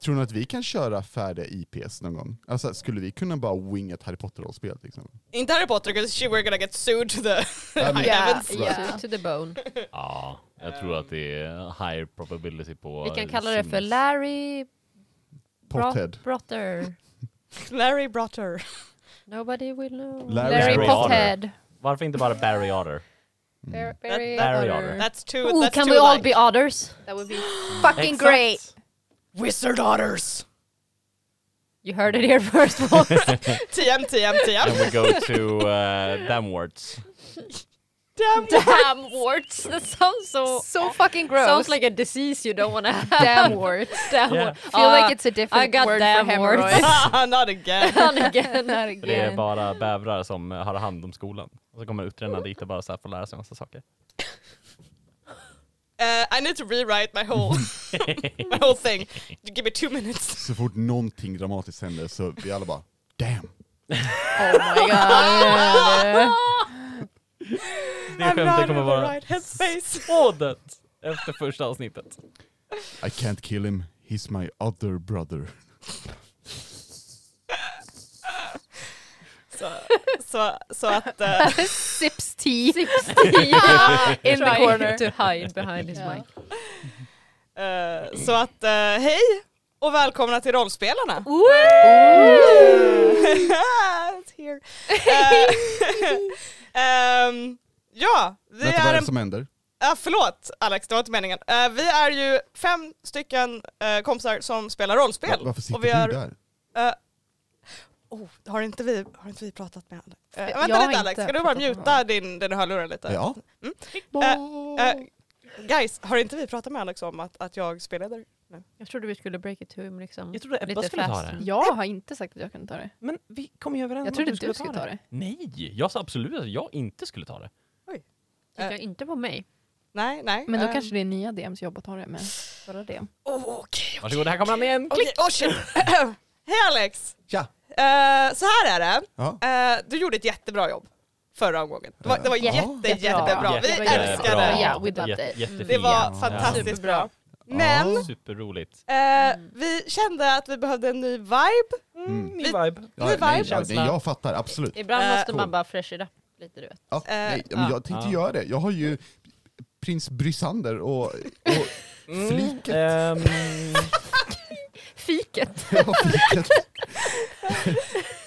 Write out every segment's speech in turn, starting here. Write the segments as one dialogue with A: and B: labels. A: Tror ni att vi kan köra färdiga IPs någon gång? Alltså, skulle vi kunna bara winga ett Harry Potter-rollspel till exempel?
B: Inte Harry Potter, because she were gonna get sued to the
A: Ja, Äh, men-
B: high
C: Yeah,
B: heavens.
C: yeah. To the bone.
D: Ja, jag tror att det är higher probability på...
C: Vi kan kalla det för
D: Sims.
C: Larry
A: Pothead.
C: Brot- Brotter.
B: Larry Brotter.
C: Nobody will know.
A: Larry
C: Larry
D: Brotter.
C: Pothead.
D: Varför inte bara Barry Otter?
C: Bar- Barry
D: Larry Otter.
C: Otter.
B: That's too,
C: Ooh,
B: that's
C: can
B: too
C: we all
B: like.
C: be otters?
E: Mm. That would be fucking
D: Exakt.
E: great.
B: Wizard Otters!
C: You heard it here first folks.
B: TM, TM,
D: And
B: TM.
D: we go to uh, Damworts.
B: Damn.
C: Damn warts. That sounds so...
E: So fucking gross.
C: Sounds like a disease you don't want to have.
E: damn warts.
C: Damn
D: Yeah.
C: wart.
E: Feel
C: Ah,
E: like it's a different
C: I got
E: word
C: damn
E: for hemorrhoids.
B: Not again.
C: fan again.
E: Not
D: Det är
E: again.
D: bara bävrar som eh, har hand om skolan. Och så kommer utredarna dit och bara så här får lära sig massa saker.
B: Uh, I need to rewrite my whole my whole thing. Give me two minutes.
A: Så fort någonting dramatiskt händer så vi alla bara damn.
E: Oh my god.
D: Det skämtet kommer
B: the
D: vara
B: right headspace.
D: så dött efter första avsnittet.
A: I can't kill him, he's my other brother.
B: Så, så, så att... eh,
E: Sips tea.
C: in the
E: Trying
C: corner to hide behind his
E: Yeah.
C: mic.
B: eh, så att eh, hej och välkomna till Rollspelarna! It's here. Eh, ehm, ja, vi
A: Vet du vad
B: är
A: det är
B: en
A: som händer?
B: Ja, Ah, förlåt Alex, det var inte meningen. Eh, vi är ju fem stycken eh, kompisar som spelar rollspel.
A: Va- Varför sitter
B: vi
A: du
B: är-
A: där?
B: eh, oh, har, inte vi, har inte vi pratat med Alex? Eh,
E: Jag- jag
B: vänta
E: har
B: lite Alex,
E: inte
B: ska du bara
E: pratat med
B: mjuta din, din hörlurar lite?
A: Ja.
B: Eh, guys, har inte vi pratat med Alex om att, att jag spelleder?
C: Jag trodde vi skulle break it to him liksom.
D: Jag trodde Ebba
C: Lite
D: skulle ta
C: fast.
D: det.
E: Jag har inte sagt att jag kan ta det.
D: Men vi kom ju överens
E: Jag trodde du skulle ta det.
D: Nej, jag sa absolut att jag inte skulle ta det.
C: Tittar inte på mig.
B: Nej, nej.
E: Men då
B: eh,
E: kanske det är nya DMs jag bara tar det med. Bara det.
B: Oh, Okej,
D: Varsågod, här kommer han igen!
B: okej. Åh, shit. Hej Alex!
A: Tja.
B: Eh, så här är det.
A: Ja.
B: Eh, du gjorde ett jättebra jobb förra omgången. Det var, det var
A: Ja.
B: jätte,
E: Jättebra.
B: jättebra. Vi
C: Jättebra.
B: älskar
C: Bra.
B: det.
C: Ja, we loved
D: Jätte-
C: it.
D: jättefint.
B: Det var
A: Ja.
B: fantastiskt bra.
E: Superbra.
B: Men
A: Ja.
D: Superroligt.
B: eh, vi kände att vi behövde en ny vibe.
A: Mm.
D: Ny
B: Vi-
D: vibe.
A: Ja,
B: Ny
A: nej,
B: vibe.
A: ja, nej, jag fattar, absolut.
D: Äh,
C: Ibland
B: Eh,
C: måste
A: cool.
C: man bara fresh it up lite du vet.
A: Ja, nej, men jag tänkte
D: ja.
A: göra det. Jag har ju prins Brysander och, och Fliket.
D: Ehm,
C: Fiket.
A: och fliket.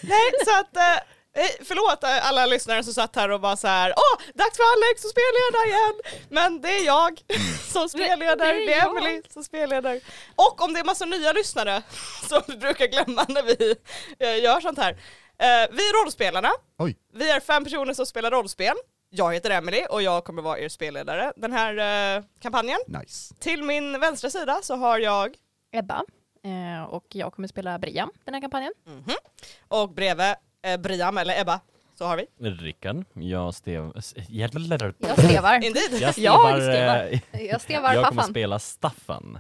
B: Nej, så att, eh, eh, förlåt eh, alla lyssnare som satt här och var så här, åh, dags för Alex som spelleder igen. Men det är jag som spelleder,
C: det är
B: det är
C: jag.
B: Emily som spelleder. Och om det är massa nya lyssnare som vi brukar glömma när vi eh, gör sånt här. Eh, vi är rollspelarna.
A: Oj.
B: Vi är fem personer som spelar rollspel. Jag heter Emily och jag kommer vara er spelledare den här eh, kampanjen.
A: Nice.
B: Till min vänstra sida så har jag
E: Ebba. Eh, och jag kommer spela Bria den här kampanjen.
B: och bredvid eh, Briam, eller Ebba, så har vi.
D: Rickard, jag stev... s- Jag stevar...
E: Jag stevar.
B: Indeed.
D: Jag
E: Jag
D: stevar. eh,
E: Jag stevar
D: Jag kommer
E: Staffan.
D: spela Staffan.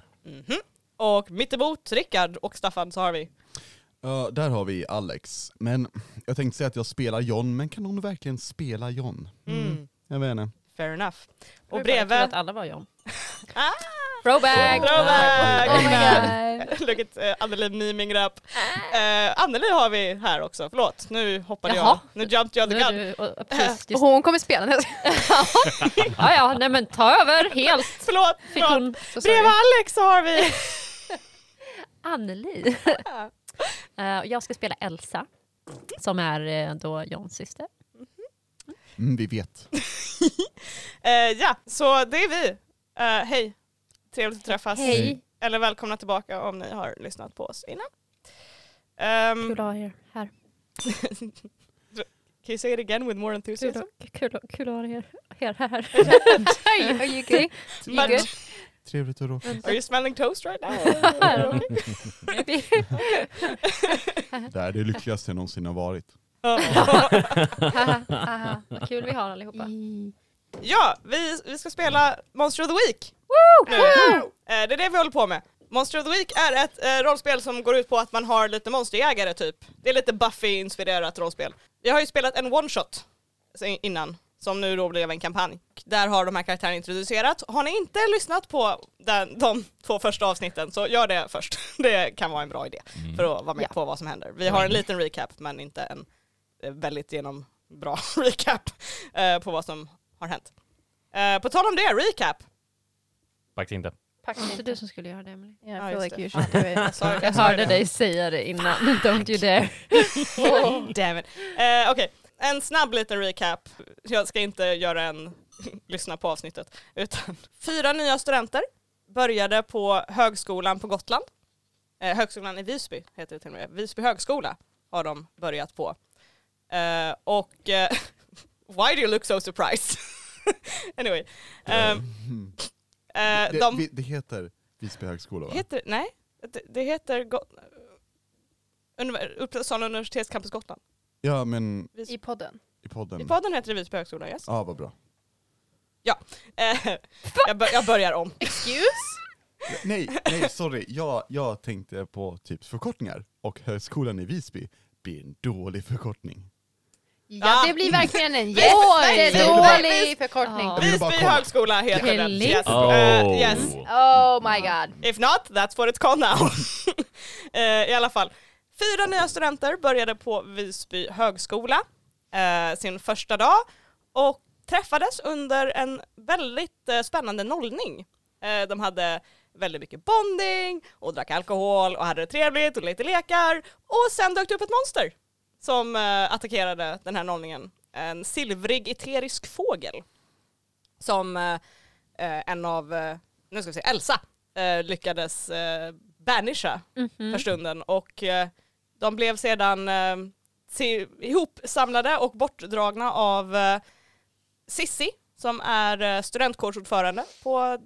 B: Och mittemot Rickard och Staffan så har vi.
A: Ja, där har vi Alex. Men jag tänkte säga att jag spelar John, men kan någon verkligen spela John?
B: Mm.
A: Jag vet inte.
B: Fair enough. Och
C: Jag trodde att
B: bredvid...
C: alla var jag.
B: Ah!
C: Throwback!
B: Throwback!
E: Oh my
B: Amen.
E: god.
B: Look at uh, Anneli miming it up.
C: Ah!
B: Eh, Anneli har vi här också, förlåt. Nu hoppade
C: Jaha.
B: jag. Nu jumped jag
C: Nu
B: the
C: är
B: gun.
C: du o- precis.
E: Och hon kommer spela nästa
C: Ja, ja, nej men ta över helt.
B: Förlåt,
C: Fick
B: förlåt.
C: hon
E: Så sorry.
B: Bredvid Alex så har vi...
C: Anneli. Eh, och jag ska spela Elsa, som är eh, då Johns syster.
A: Mm, vi vet.
B: Eh, ja, så det är vi. Eh, hej. Trevligt att träffas.
C: Hej!
B: Eller välkomna tillbaka om ni har lyssnat på oss innan. Ehm,
C: Kul att ha er här.
B: can you say it again with more enthusiasm?
C: kul, kul att ha er här. här.
E: Are you okay?
B: But
E: good?
A: Trevligt att råka.
B: are you smelling toast right now? Mm.
A: Det här är det lyckligaste jag någonsin har varit.
C: Vad kul vi har allihopa.
E: I-
B: ja, vi, vi ska spela Monster of the Week. Nu.
C: Mm.
B: Eh, Det är det vi håller på med. Monster of the Week är ett eh, rollspel som går ut på att man har lite monsterjägare typ. Det är lite Buffy-inspirerat rollspel. Jag har ju spelat en one-shot se- innan som nu då blev en kampanj. Där har de här karaktärerna introducerats. Har ni inte lyssnat på den, de två första avsnitten så gör det först. Det kan vara en bra idé
D: Mm.
B: för att vara med
E: Ja.
B: på vad som händer. Vi har en liten recap men inte en eh, väldigt genom bra recap eh, på vad som har hänt. Eh, på tal om det, recap.
D: Faktiskt inte.
C: Det var inte du som skulle göra det, Emily.
E: Yeah, I
B: Ja,
E: feel
B: just
E: like
B: det.
E: you should do it.
B: Sorry,
C: Jag
B: sorry.
C: hörde dig säga det innan. Don't you dare.
B: Damn it. Eh, Okej, en snabb liten recap. Jag ska inte göra en lyssna på avsnittet. Utan fyra nya studenter började på högskolan på Gotland. Eh, högskolan i Visby heter det till och med. Visby högskola har de börjat på. Eh, och eh, why do you look so surprised? anyway. Ehm, eh,
A: Mm. det,
B: de
A: vi, det heter Visby högskola va?
B: heter, nej, det, det heter Go- Univer- Uppsala universitetscampus Gotland.
A: Ja men
E: I podden.
A: i podden.
B: I podden heter det Visby högskola, yes.
A: Ja vad bra.
B: Eh, jag, bör, jag börjar om.
E: Excuse?
A: Nej, nej sorry. Jag, jag tänkte på typ förkortningar och högskolan i Visby blir en dålig förkortning.
B: Ah.
E: Ja, det blir verkligen en
B: Visst.
E: jättedålig förkortning.
C: Ja.
A: vill bara
B: Visby
A: kolla.
B: högskola heter den.
C: Helling.
B: Yes.
D: Oh.
B: Eh, yes.
E: Oh my god.
B: If not, that's what it's called now. Eh, I alla fall. Fyra nya studenter började på Visby högskola eh, sin första dag och träffades under en väldigt eh, spännande nollning. Eh, de hade väldigt mycket bonding och drack alkohol och hade det trevligt och lekte lekar och sen dök det upp ett monster som eh, attackerade den här nollningen. En silvrig eterisk fågel som eh, eh, en av, eh, nu ska vi se, Elsa eh, lyckades eh, banisha
C: Mm-hmm. Mm.
B: för stunden och eh, de blev sedan eh, se, ihopsamlade och bortdragna av eh, Sissi som är eh, studentkårsordförande på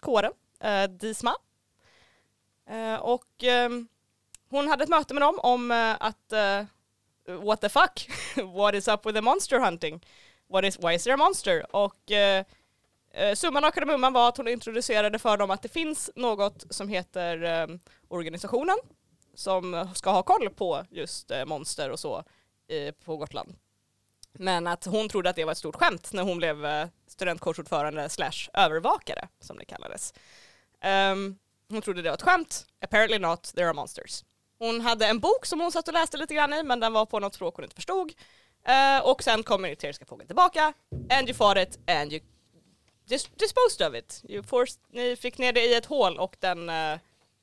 B: kåren, eh, Disma. Eh, och eh, hon hade ett möte med dem om eh, att eh, what the fuck, what is up with the monster hunting? What is, why is there a monster? Och eh, Eh, summan av kardemumman var att hon introducerade för dem att det finns något som heter eh, organisationen som ska ha koll på just eh, monster och så eh, på Gotland. Men att hon trodde att det var ett stort skämt när hon blev eh, studentkårsordförande slash övervakare som det kallades. Ehm, hon trodde det var ett skämt. Apparently not, there are monsters. Hon hade en bok som hon satt och läste lite grann i men den var på något språk hon inte förstod. Eh, och sen kommer den eteriska fågeln tillbaka. And you fought it and you dis- disposed of it. You forced, ni fick ner det i ett hål och den eh,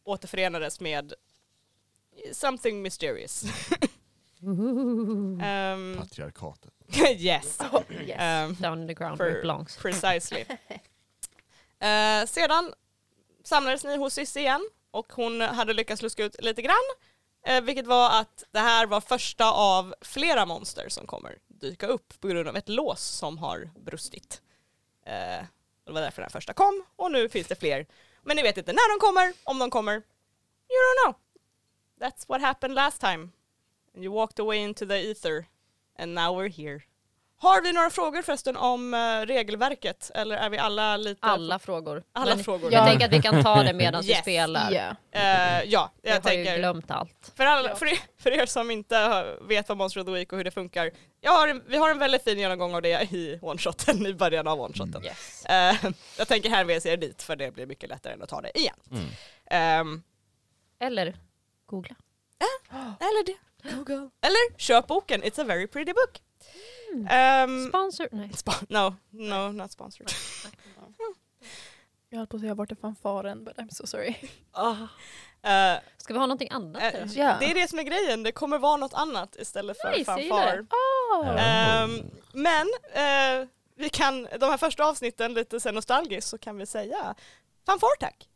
B: återförenades med something mysterious. Ehm,
A: Patriarkatet.
B: yes. Ehm,
C: Down in the ground where
B: Per-
C: it belongs.
B: Precisely. Eh, sedan samlades ni hos Cissi igen och hon hade lyckats luska ut lite grann. eh, vilket var att det här var första av flera monster som kommer dyka upp på grund av ett lås som har brustit. Eh, det var därför den första kom och nu finns det fler. Men ni vet inte när de kommer, om de kommer. You don't know. That's what happened last time. And you walked away into the ether. And now we're here. Har vi några frågor förresten om eh, regelverket? Eller är vi alla lite...
C: Alla frågor.
B: Alla
C: Men
B: frågor.
C: Jag
E: Ja.
C: tänker att vi kan ta det medan vi
B: Yes.
C: spelar.
E: Yeah.
B: Eh, ja, jag,
C: Jag, har
B: tänker...
C: ju glömt allt.
B: För, alla, för, er, för er som inte har- vet vad Monster of the Week och hur det funkar. Jag har, en- vi har en väldigt fin genomgång av det i one-shoten, i början av one-shoten.
C: Yes.
B: Eh, jag tänker hänvisa er dit för det blir mycket lättare än att ta det igen.
D: Mm.
B: Ehm,
C: Eller googla.
B: eller det. Eller köp boken, it's a very pretty book.
C: Mm.
B: Ehm,
C: Sponsor? Nej.
B: spa- no, no, not sponsored.
E: Jag höll på att säga bort fanfaren but I'm so sorry.
B: Eh,
C: Ska vi ha någonting annat?
B: eh,
C: idag?
E: Ja.
B: Det är det som är grejen, det kommer vara något annat istället för
C: Nice, jag gillar
B: fanfar.
C: det.
E: Ah.
B: Ehm, men eh, vi kan, de här första avsnitten lite sen nostalgiskt så kan vi säga fanfar tack.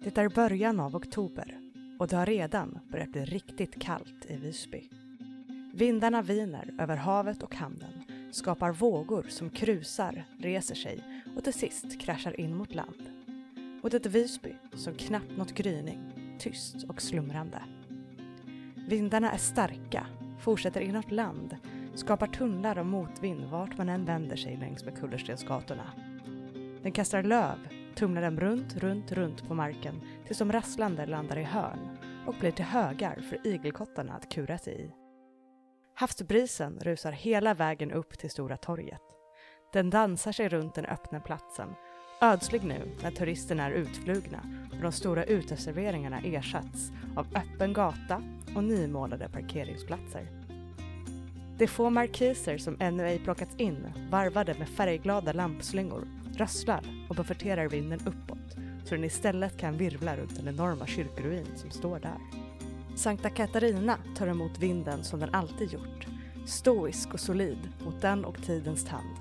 F: Det är början av oktober och det har redan börjat bli riktigt kallt i Visby. Vindarna viner över havet och hamnen, skapar vågor som krusar, reser sig och till sist kraschar in mot land. Mot ett Visby som knappt nått gryning, tyst och slumrande. Vindarna är starka, fortsätter inåt land, skapar tunnlar av motvind vart man än vänder sig längs med kullerstensgatorna. Den kastar löv, tumlar dem runt, runt, runt på marken tills de rasslande landar i hörn och blir till högar för igelkottarna att kura sig i. Havsbrisen rusar hela vägen upp till Stora torget. Den dansar sig runt den öppna platsen, ödslig nu när turisterna är utflugna och de stora uteserveringarna ersatts av öppen gata och nymålade parkeringsplatser. De få markiser som ännu ej plockats in, varvade med färgglada lampslingor, rasslar och bufferterar vinden uppåt så den istället kan virvla runt den enorma kyrkruin som står där. Sankta Katarina tar emot vinden som den alltid gjort, stoisk och solid mot den och tidens tand.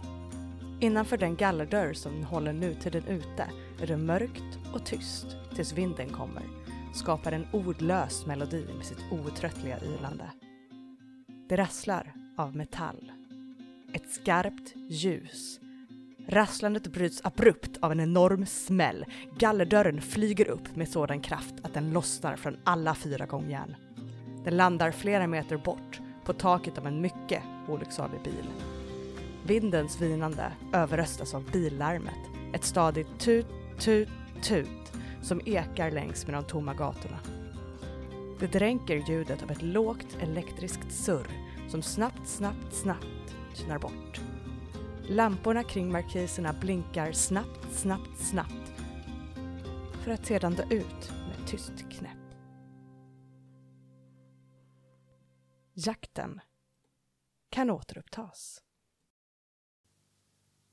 F: Innanför den gallerdörr som den håller nutiden ute är det mörkt och tyst tills vinden kommer, skapar en ordlös melodi med sitt outtröttliga ylande. Det rasslar av metall. Ett skarpt ljus. Rasslandet bryts abrupt av en enorm smäll. Gallerdörren flyger upp med sådan kraft att den lossnar från alla fyra gångjärn. Den landar flera meter bort på taket av en mycket olycksalig bil. Vindens vinande överröstas av billarmet. Ett stadigt tut, tut, tut som ekar längs med de tomma gatorna. Det dränker ljudet av ett lågt elektriskt surr som snabbt, snabbt, snabbt tynar bort. Lamporna kring markiserna blinkar snabbt, snabbt, snabbt för att sedan dö ut med ett tyst knäpp. Jakten kan återupptas.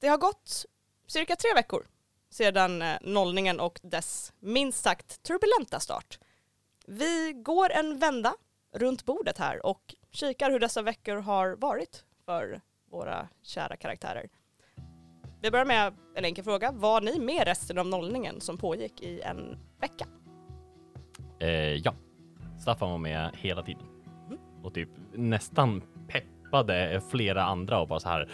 B: Det har gått cirka tre veckor sedan eh, nollningen och dess minst sagt turbulenta start. Vi går en vända runt bordet här och kikar hur dessa veckor har varit för våra kära karaktärer. Vi börjar med en enkel fråga. Var ni med resten av nollningen som pågick i en vecka?
D: Eh, ja. Staffan var med hela tiden. Och typ nästan peppade flera andra och bara så här.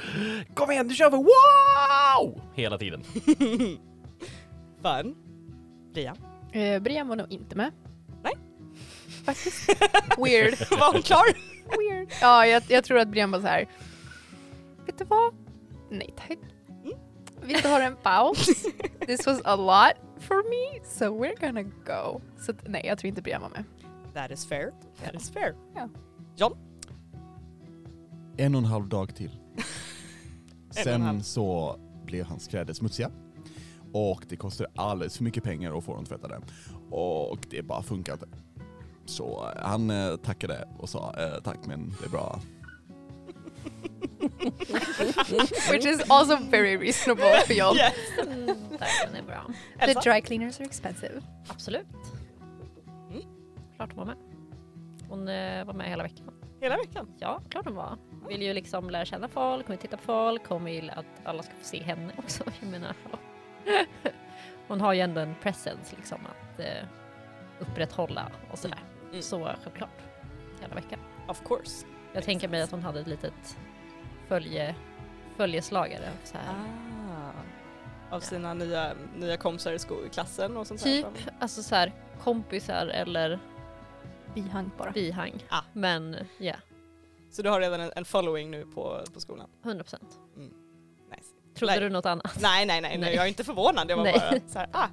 D: Kom igen, nu kör vi! Wow! Hela tiden.
B: Fun. Ria.
E: Eh, Brian var nog inte med.
B: Nej.
E: Faktiskt. Weird.
B: Var hon klar?
E: Weird. Ja, jag, jag tror att Brian var så här. Vet du vad? Nej tack. Vi tar en paus. This was a lot for me, so we're gonna go. Så att, nej, jag tror inte Brian var med.
B: That is fair. That is fair.
A: En och en halv dag till.
B: och en halv.
A: Sen så blev hans kläder smutsiga. Och det kostar alldeles för mycket pengar att få dem tvättade. Och det bara funkar inte. Så eh, han eh, tackade och sa eh, tack men det är bra.
E: Which is also very reasonable för jag.
B: Yes.
C: Mm, tack, men det är bra.
E: The
B: Elsa?
E: dry cleaners are expensive.
C: Absolut.
B: Mm.
C: Klart hon var med. Hon eh, var med hela veckan.
B: Hela veckan.
C: Ja, klart hon var. Vill ju liksom lära känna folk, hon vill titta på folk, hon vill att alla ska få se henne också. Jag menar, ja. Hon har ju ändå en presence liksom att eh, upprätthålla och sådär.
B: Mm.
C: Så självklart. Hela veckan.
B: Of course.
C: Jag tänker mig att hon hade ett litet följe, följeslagare. Så här.
B: Ah. Av sina nya, nya kompisar i sko- i klassen och sånt där
C: Typ,
B: som-
C: alltså så här, kompisar eller
E: Bihang bara.
C: bihang.
B: Ah.
C: Men ja,
B: Så du har redan en, en following nu på, på skolan?
C: 100 procent.
B: Nice.
C: Trodde
B: Nej.
C: du något annat?
B: Nej, nej, nej, nej,
C: Nej.
B: jag är inte förvånad. Jag var
C: Nej.
B: bara så här, ah,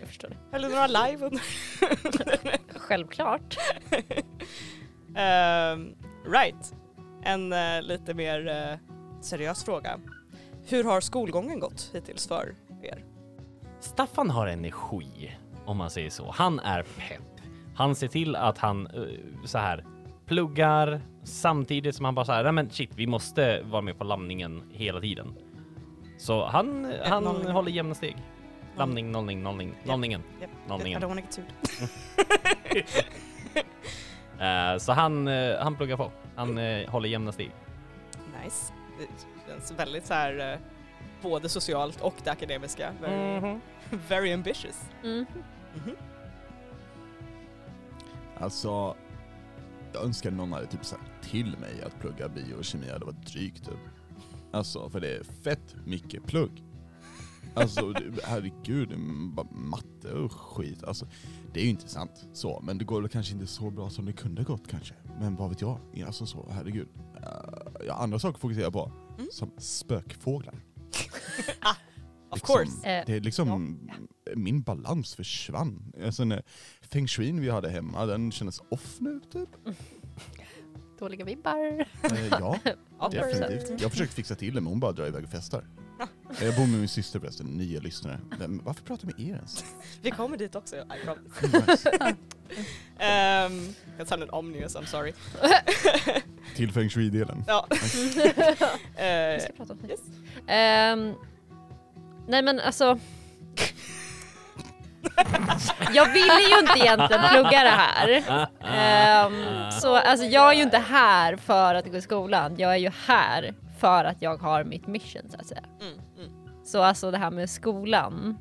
C: Jag förstår det.
B: höll du några live under?
C: Självklart.
B: Ehm, right. En eh, lite mer eh, seriös fråga. Hur har skolgången gått hittills för er?
D: Staffan har energi, om man säger så. Han är pepp. Han ser till att han eh, så här pluggar samtidigt som han bara så här, nej men shit, vi måste vara med på lamningen hela tiden. Så han, han
B: nollning.
D: håller jämna steg. Lamning, nollning, nollning, nollningen.
B: Japp. I
D: nollningen.
B: don't wanna get sued.
D: Eh, så han, eh, han pluggar på. Han eh, håller jämna steg.
B: Nice. Det känns väldigt så här eh, Mm-hmm. både socialt och det akademiska. Very, very ambitious.
C: Mm.
B: Mhm.
A: Alltså, jag önskar någon hade typ sagt till mig att plugga biokemi hade varit drygt typ. Alltså, för det är fett mycket plugg. Alltså, det- herregud, m- bara matte och skit. Alltså, det är ju intressant så, men det går väl kanske inte så bra som det kunde gått kanske. Men vad vet jag? Alltså så, herregud. Eh, jag har andra saker att fokusera på,
B: Mm.
A: som spökfåglar.
B: Of
A: Liksom,
B: course.
C: Eh,
A: Det är liksom, min balans försvann. Alltså, när feng shuin vi hade hemma, den kändes off nu typ.
E: Dåliga vibbar.
A: Eh, ja,
B: Ja,
A: definitivt. Jag försökte fixa till det men hon bara drar iväg och festar. Eh, Jag bor med min syster förresten, nya lyssnare. Men varför pratar jag med er ens?
B: Vi kommer dit också, I
A: Nice.
B: promise. Um, jag sounded omnius, I'm sorry.
A: Till feng shui-delen.
B: Ja.
C: Vi
B: Eh,
C: ska prata om det.
B: yes.
C: Ehm, nej men alltså. jag ville ju inte egentligen plugga det här. Ehm, så alltså jag är ju inte här för att gå i skolan. Jag är ju här för att jag har mitt mission så att säga.
B: mm, mm,
C: Så alltså det här med skolan.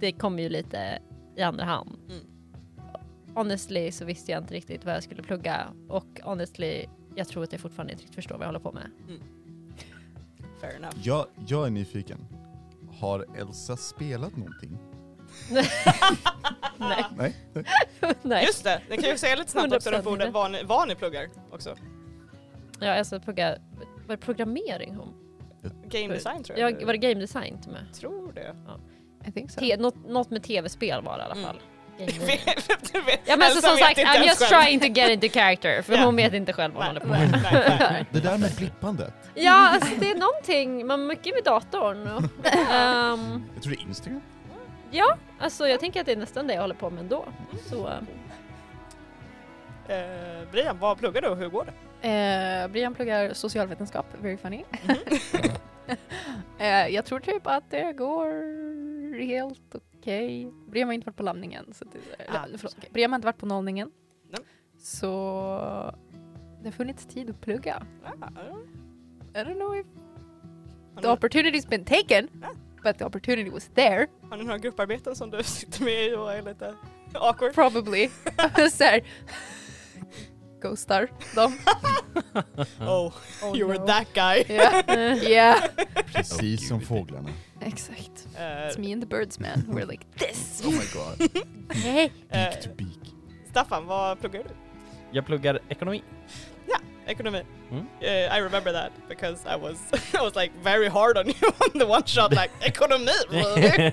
C: Det kommer ju lite i andra hand.
B: Mm.
C: Honestly så visste jag inte riktigt vad jag skulle plugga och honestly jag tror att jag fortfarande inte riktigt förstår vad jag håller på med.
B: fair enough.
A: Jag, jag är nyfiken. Har Elsa spelat någonting?
C: Nej.
A: Nej.
C: Nej.
B: Just det, ni kan ju säga lite snabbt också
C: 100%
B: på ordet
C: inte.
B: vad ni, vad ni pluggar också.
C: Ja, jag ska plugga, var det programmering hon?
B: Game design tror jag.
C: Jag, var det game design till mig?
B: tror det.
E: I think so.
C: Te, något, något med tv-spel var det i alla
B: Mm.
C: fall.
B: Du
C: Game-
B: vet- du vet-
C: Ja men
B: Elsa
C: alltså, som
B: vet
C: sagt,
B: inte
C: I'm
B: ens
C: just
B: själv.
C: trying to get into character för
B: Ja.
C: hon vet inte själv vad hon
B: Nej,
C: håller på med.
B: nej, nej, nej.
A: Det där med flippandet.
C: Ja alltså det är någonting, man mycket med datorn. Och, ehm,
A: Jag tror det är Instagram.
C: ja, alltså jag tänker att det är nästan det jag håller på med ändå. Så, eh,
B: Eh, Brian, vad pluggar du och hur går det?
E: Eh, Brian pluggar socialvetenskap, very funny. Mm-hmm. eh, jag tror typ att det går helt okej. Brian har inte varit på landningen. Så det,
B: Ah,
E: eller, förlåt, Brian har inte varit på nollningen.
B: Nej.
E: Så det har funnits tid att plugga.
B: Ah, ja.
E: I don't know if
B: Har
E: the
B: ni-
E: opportunity's been taken,
B: Ah.
E: but the opportunity was there.
B: Har ni några grupparbeten som du sitter med i och är lite awkward?
E: Probably. så här. Ghostar dem.
B: Oh,
E: Oh
B: you were
E: no.
B: that guy.
E: Ja, yeah.
A: Precis som fåglarna.
E: exakt.
B: Eh,
E: It's me and the birds man. We're like this.
A: Oh my god.
C: nej.
A: Beak to
B: eh,
A: beak.
B: Staffan, vad pluggar du?
D: Jag pluggar ekonomi.
B: Ekonomi.
D: Mm.
B: Eh, I remember that because I was I was like very hard on you on the one shot like ekonomi.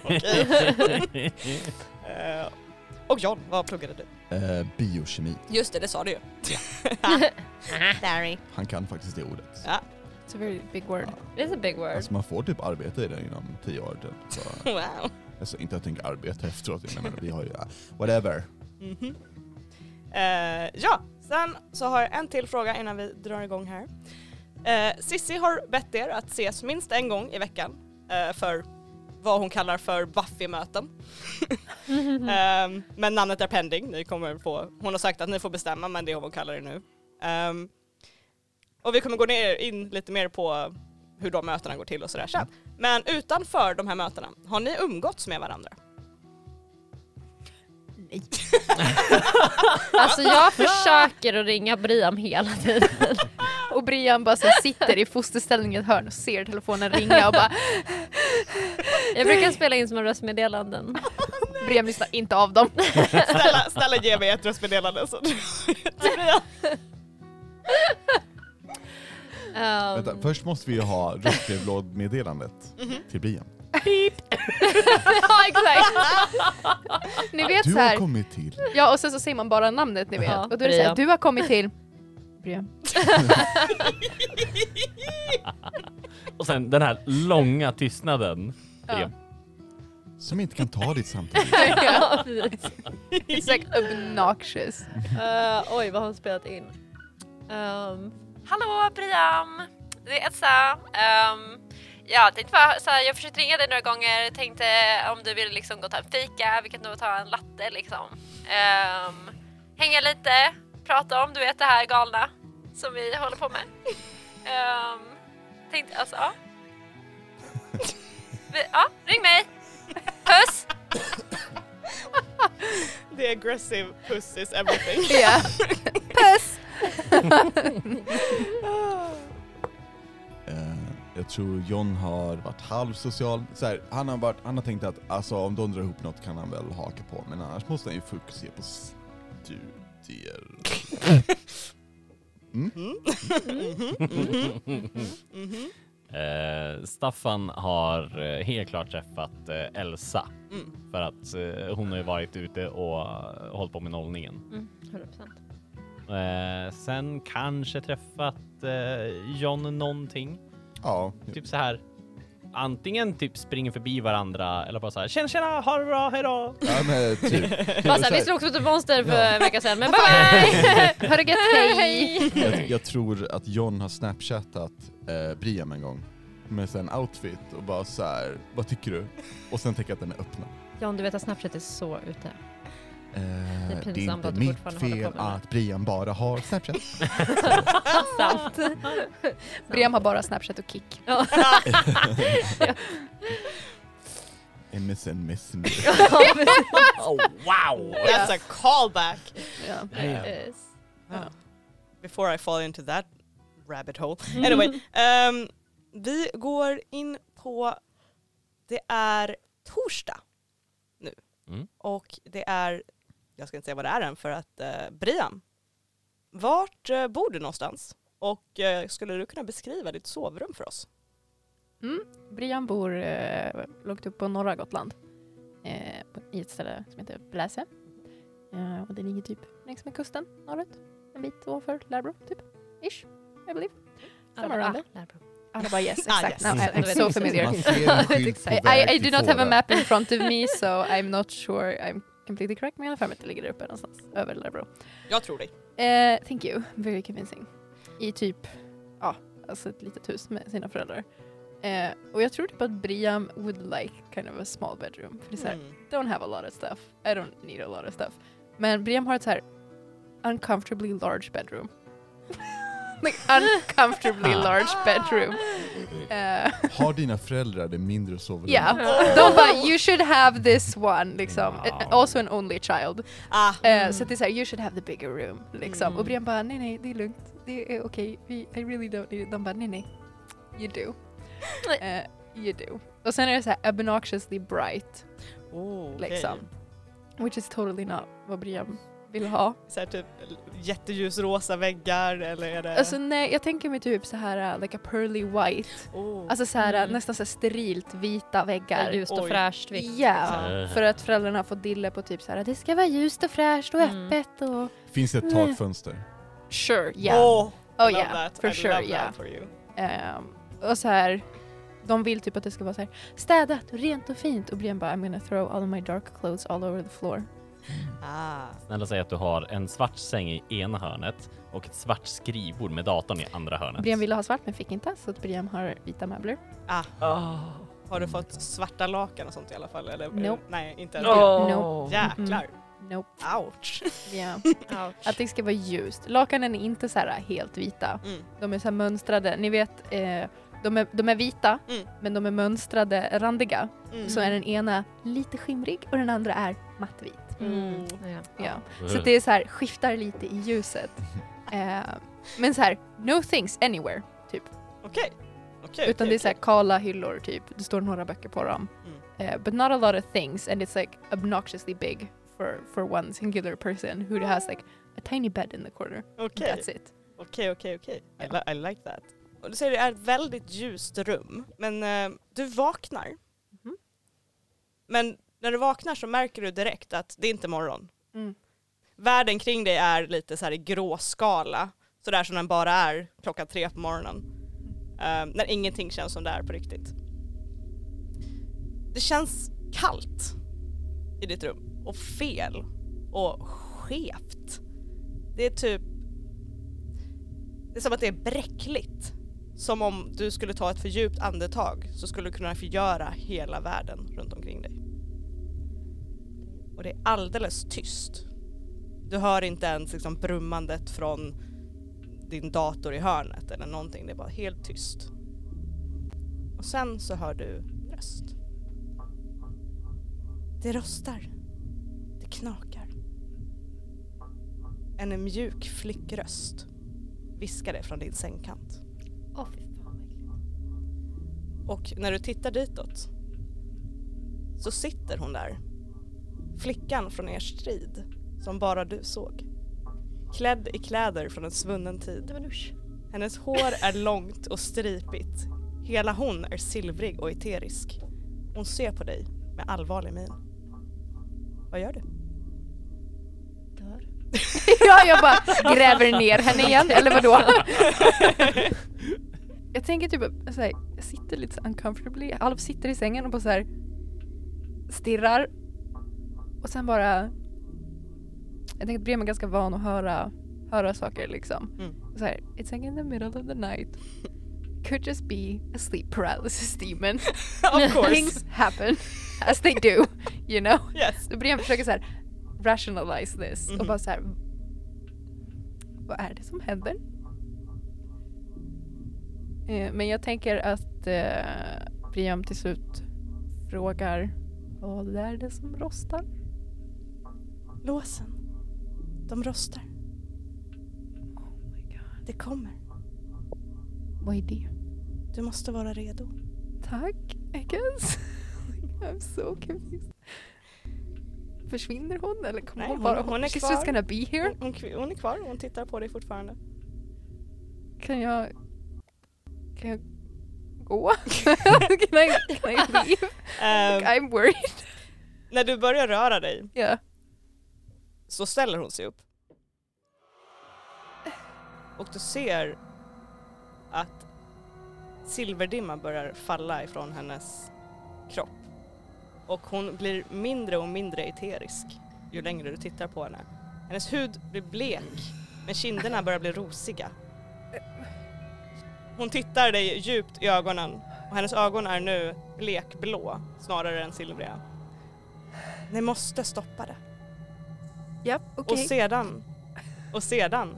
B: Okej. Eh, och John, vad pluggade du?
A: Eh, biokemi.
B: Just det, det sa du ju. Ah. Sorry.
A: Han kan faktiskt det ordet.
B: Ja.
E: It's a very big word.
C: It's a big word.
A: Alltså man får typ arbeta i det inom tio år typ. Så.
B: Wow.
A: Alltså inte att jag tänker arbeta efteråt, jag menar vi har ju, ja, whatever.
B: Mhm. Eh, ja, sen så har jag en till fråga innan vi drar igång här. Eh, Sissi har bett er att ses minst en gång i veckan eh, för vad hon kallar för Buffy-möten. Ehm, men namnet är pending, ni kommer få, hon har sagt att ni får bestämma men det är vad hon kallar det nu. Ehm, och vi kommer gå ner, in lite mer på hur de mötena går till och sådär sen. Men utanför de här mötena, har ni umgåtts med varandra?
E: Nej.
C: Alltså jag försöker att ringa Brian hela tiden.
E: Och Brian bara så här sitter i fosterställning i ett hörn och ser telefonen ringa och bara
C: Jag brukar spela in små röstmeddelanden.
E: Brian lyssnar inte av dem.
B: Snälla, snälla ge mig ett röstmeddelande så
C: Ehm,
A: Vänta, först måste vi ju ha röstbrevlådmeddelandet
E: Mhm.
A: till Brian.
E: ja exakt. Ni vet
A: Du
E: så
A: har
E: här.
A: kommit till,
E: Ja och sen så säger man bara namnet ni vet.
C: Ja,
E: och då är det så här,
C: Brian.
E: du har kommit till Brian.
D: Och sen den här långa tystnaden.
E: Ja.
A: som inte kan ta ditt samtal.
C: ja, precis.
E: It's like obnoxious.
C: Eh, oj, vad har hon spelat in? Ehm, Hallå Brian! Det är Elsa. Um, ja, tänkte bara, så här, jag försökte ringa dig några gånger, tänkte om du ville liksom gå och ta en fika, vi kan nog ta en latte liksom. Ehm, hänga lite, prata om du vet det här galna som vi håller på med. Ehm, tänkte, alltså ja. Vi, ja, ring mig! Puss!
B: Det the aggressive puss is everything.
E: Yeah. Puss!
A: Eh, jag tror John har varit halvsocial. Så här, han, har varit, han har tänkt att alltså, om de drar ihop något kan han väl haka på, men annars måste han ju fokusera på studier. Mm.
B: Mhm.
D: Eh, Staffan har eh, helt klart träffat eh, Elsa
B: Mm.
D: för att eh, hon har ju varit ute och eh, hållit på med nollningen.
C: Mm, 100%.
D: Eh, sen kanske träffat eh, John någonting.
A: Ja,
D: Typ så här. Antingen typ springer förbi varandra eller bara så här tjena tjena ha det bra hejdå.
A: ja men typ.
C: Bara såhär, vi slogs mot ett monster för en vecka sedan men bye bye!
E: Har det gött, hej!
A: Jag, jag tror att John har snapchattat eh, Briam en gång med en outfit och bara så här, vad tycker du? Och sen tänker jag att den är öppna.
C: John du vet att Snapchat är så ute.
A: Eh,
C: är
A: det är
C: pinsamt
A: inte
C: att du
A: mitt
C: fortfarande håller
A: fel
C: på med det.
A: att Brian bara har snapchat.
C: Sant.
E: Briam har bara Snapchat och Kick.
A: MSN Messenger.
D: Oh, wow!
B: That's a callback!
E: Ja.
C: Eh,
B: Before I fall into that rabbit hole. Anyway, ehm, vi går in på, det är torsdag nu.
D: Mm.
B: Och det är, jag ska inte säga vad det är än för att eh, Brian, vart eh, bor du någonstans? Och eh, skulle du kunna beskriva ditt sovrum för oss?
E: Mm. Brian bor eh, långt upp på norra Gotland. Eh, på- I ett ställe som heter Bläse. Eh, och det ligger typ längs med kusten norrut. En bit ovanför Lärbro, typ. Ish, I believe. Somewhere around there. Alla bara yes, Mm.
B: Ah,
E: exakt.
B: yes.
E: No, I- I'm so familiar.
A: Man ser en skylt på
E: I,
A: väg
E: I, I
A: till
E: do not have a
A: Fårö.
E: map in front of me so I'm not sure I'm completely correct. Men jag har för mig att det ligger där uppe någonstans. Över Lärbro.
B: Jag tror dig.
E: Eh, thank you, very convincing. I typ, ja, alltså ett litet hus med sina föräldrar. Eh, och jag tror typ att Briam would like kind of a small bedroom. För det är såhär,
B: Mm.
E: don't have a lot of stuff, I don't need a lot of stuff. Men Briam har ett såhär uncomfortably large bedroom. like uncomfortably large bedroom. Eh,
A: Har dina föräldrar det mindre sovrummet?
E: yeah, de bara you should have this one liksom.
D: Wow.
E: Also an only child.
B: Ah,
E: Eh, Så att det är såhär, you should have the bigger room. Liksom.
B: Mm.
E: Och Brian bara, nej nej, det är lugnt. Det är okej. Vi I really don't need it. De bara, nej nej. You do. Eh, you do. Och sen är det såhär obnoxiously bright.
B: oh, okej.
E: Liksom. Which is totally not vad Brian vill ha.
B: Så här, typ jätteljusrosa väggar eller är det...
E: Alltså nej, jag tänker mig typ så här eh, like a pearly white.
B: oh.
E: Alltså så här, eh,
C: Mm.
E: nästan så här sterilt vita väggar.
C: Ljust och
B: Oj.
C: fräscht.
E: Ja,
C: vitt.
B: liksom.
E: för att föräldrarna har fått dille på typ så här, det ska vara ljust och fräscht och
C: Mm.
E: öppet och...
A: Finns det ett takfönster?
E: Sure, yeah. Oh,
B: oh, love
E: yeah,
B: that.
E: for
B: I
E: sure,
B: love
E: yeah.
B: that for you.
E: Ehm, och så här, de vill typ att det ska vara så här städat och rent och fint och Brian bara I'm gonna throw all of my dark clothes all over the floor.
B: Ah.
D: Snälla säg att du har en svart säng i ena hörnet och ett svart skrivbord med datorn i andra hörnet.
E: Brian ville ha svart men fick inte så att Brian har vita möbler.
D: Ah.
B: Har du fått svarta lakan och sånt i alla fall? Eller?
E: Nope.
B: Nej, inte än.
E: No.
B: Jäklar.
E: Nope.
B: Ouch.
E: Yeah.
C: Ouch.
E: Att det ska vara ljust. Lakanen är inte så här helt vita.
B: Mm.
E: De är så här mönstrade. Ni vet, eh, de, är, de är vita
B: Mm.
E: men de är mönstrade, randiga.
B: Mm.
E: Så är den ena lite skimrig och den andra är mattvit.
C: Mm.
E: Ja. Så det är så här, skiftar lite i ljuset. Eh, men så här, no things anywhere.
B: Okej. Okej,
E: Utan
B: okej,
E: det är så här
B: okej.
E: kala hyllor typ, det står några böcker på dem.
B: Mm.
E: Eh, but not a lot of things and it's like obnoxiously big for, for one singular person who has like a tiny bed in the corner.
B: Okej,
E: That's it.
B: okej, okej. okej. I, li- I like that. Och du säger det är ett väldigt ljust rum, men eh, du vaknar.
E: Mhm.
B: Men när du vaknar så märker du direkt att det är inte morgon.
E: Mm.
B: Världen kring dig är lite så här i gråskala, sådär som den bara är klockan tre på morgonen. Eh, när ingenting känns som det är på riktigt. Det känns kallt i ditt rum och fel och skevt. Det är typ... Det är som att det är bräckligt. Som om du skulle ta ett för djupt andetag så skulle du kunna förgöra hela världen runt omkring dig. Och det är alldeles tyst. Du hör inte ens liksom brummandet från din dator i hörnet eller någonting. Det är bara helt tyst. Och sen så hör du en röst. Det röstar. Det knakar. En mjuk flickröst viskade från din sängkant.
C: Åh fy fan vad äckligt.
B: Och när du tittar ditåt så sitter hon där. Flickan från er strid som bara du såg. Klädd i kläder från en svunnen tid.
C: Nej men usch.
B: Hennes hår är långt och stripigt. Hela hon är silvrig och eterisk. Hon ser på dig med allvarlig min. Vad gör du?
C: Dör.
E: ja, jag bara gräver ner henne igen, eller vadå? jag tänker typ så här, jag sitter lite så uncomfortably, halv sitter i sängen och bara så här stirrar. Och sen bara, jag tänker att Bremen är ganska van att höra, höra saker liksom.
B: Mm.
E: Och Så här, it's like in the middle of the night. Could just be a sleep paralysis demon.
B: of
E: Things happen as they do, you know.
B: Yes.
E: Så Brian försöker så här rationalize this
B: Mhm.
E: och bara så här. Vad är det som händer? Eh, men jag tänker att eh, Brian till slut frågar vad är det som rostar?
B: Låsen. De rostar.
E: Oh my god.
B: Det kommer.
E: Vad är det?
B: Du måste vara redo.
E: Tack, I guess. I'm so confused. Försvinner hon eller kommer
B: Nej,
E: hon
B: hon-
E: bara?
B: hon är
E: She's
B: kvar. Mm.
E: just gonna be here.
B: Hon, hon, hon är kvar, hon tittar på dig fortfarande.
E: Kan jag... Kan jag gå? can, I, can I leave?
B: Ehm,
E: I'm worried.
B: när du börjar röra dig
E: Yeah.
B: så ställer hon sig upp. Och du ser att silverdimma börjar falla ifrån hennes kropp. Och hon blir mindre och mindre eterisk ju längre du tittar på henne. Hennes hud blir blek men kinderna börjar bli rosiga. Hon tittar dig djupt i ögonen och hennes ögon är nu blekblå snarare än silvriga. Ni måste stoppa det.
E: Japp,
B: Och sedan, och sedan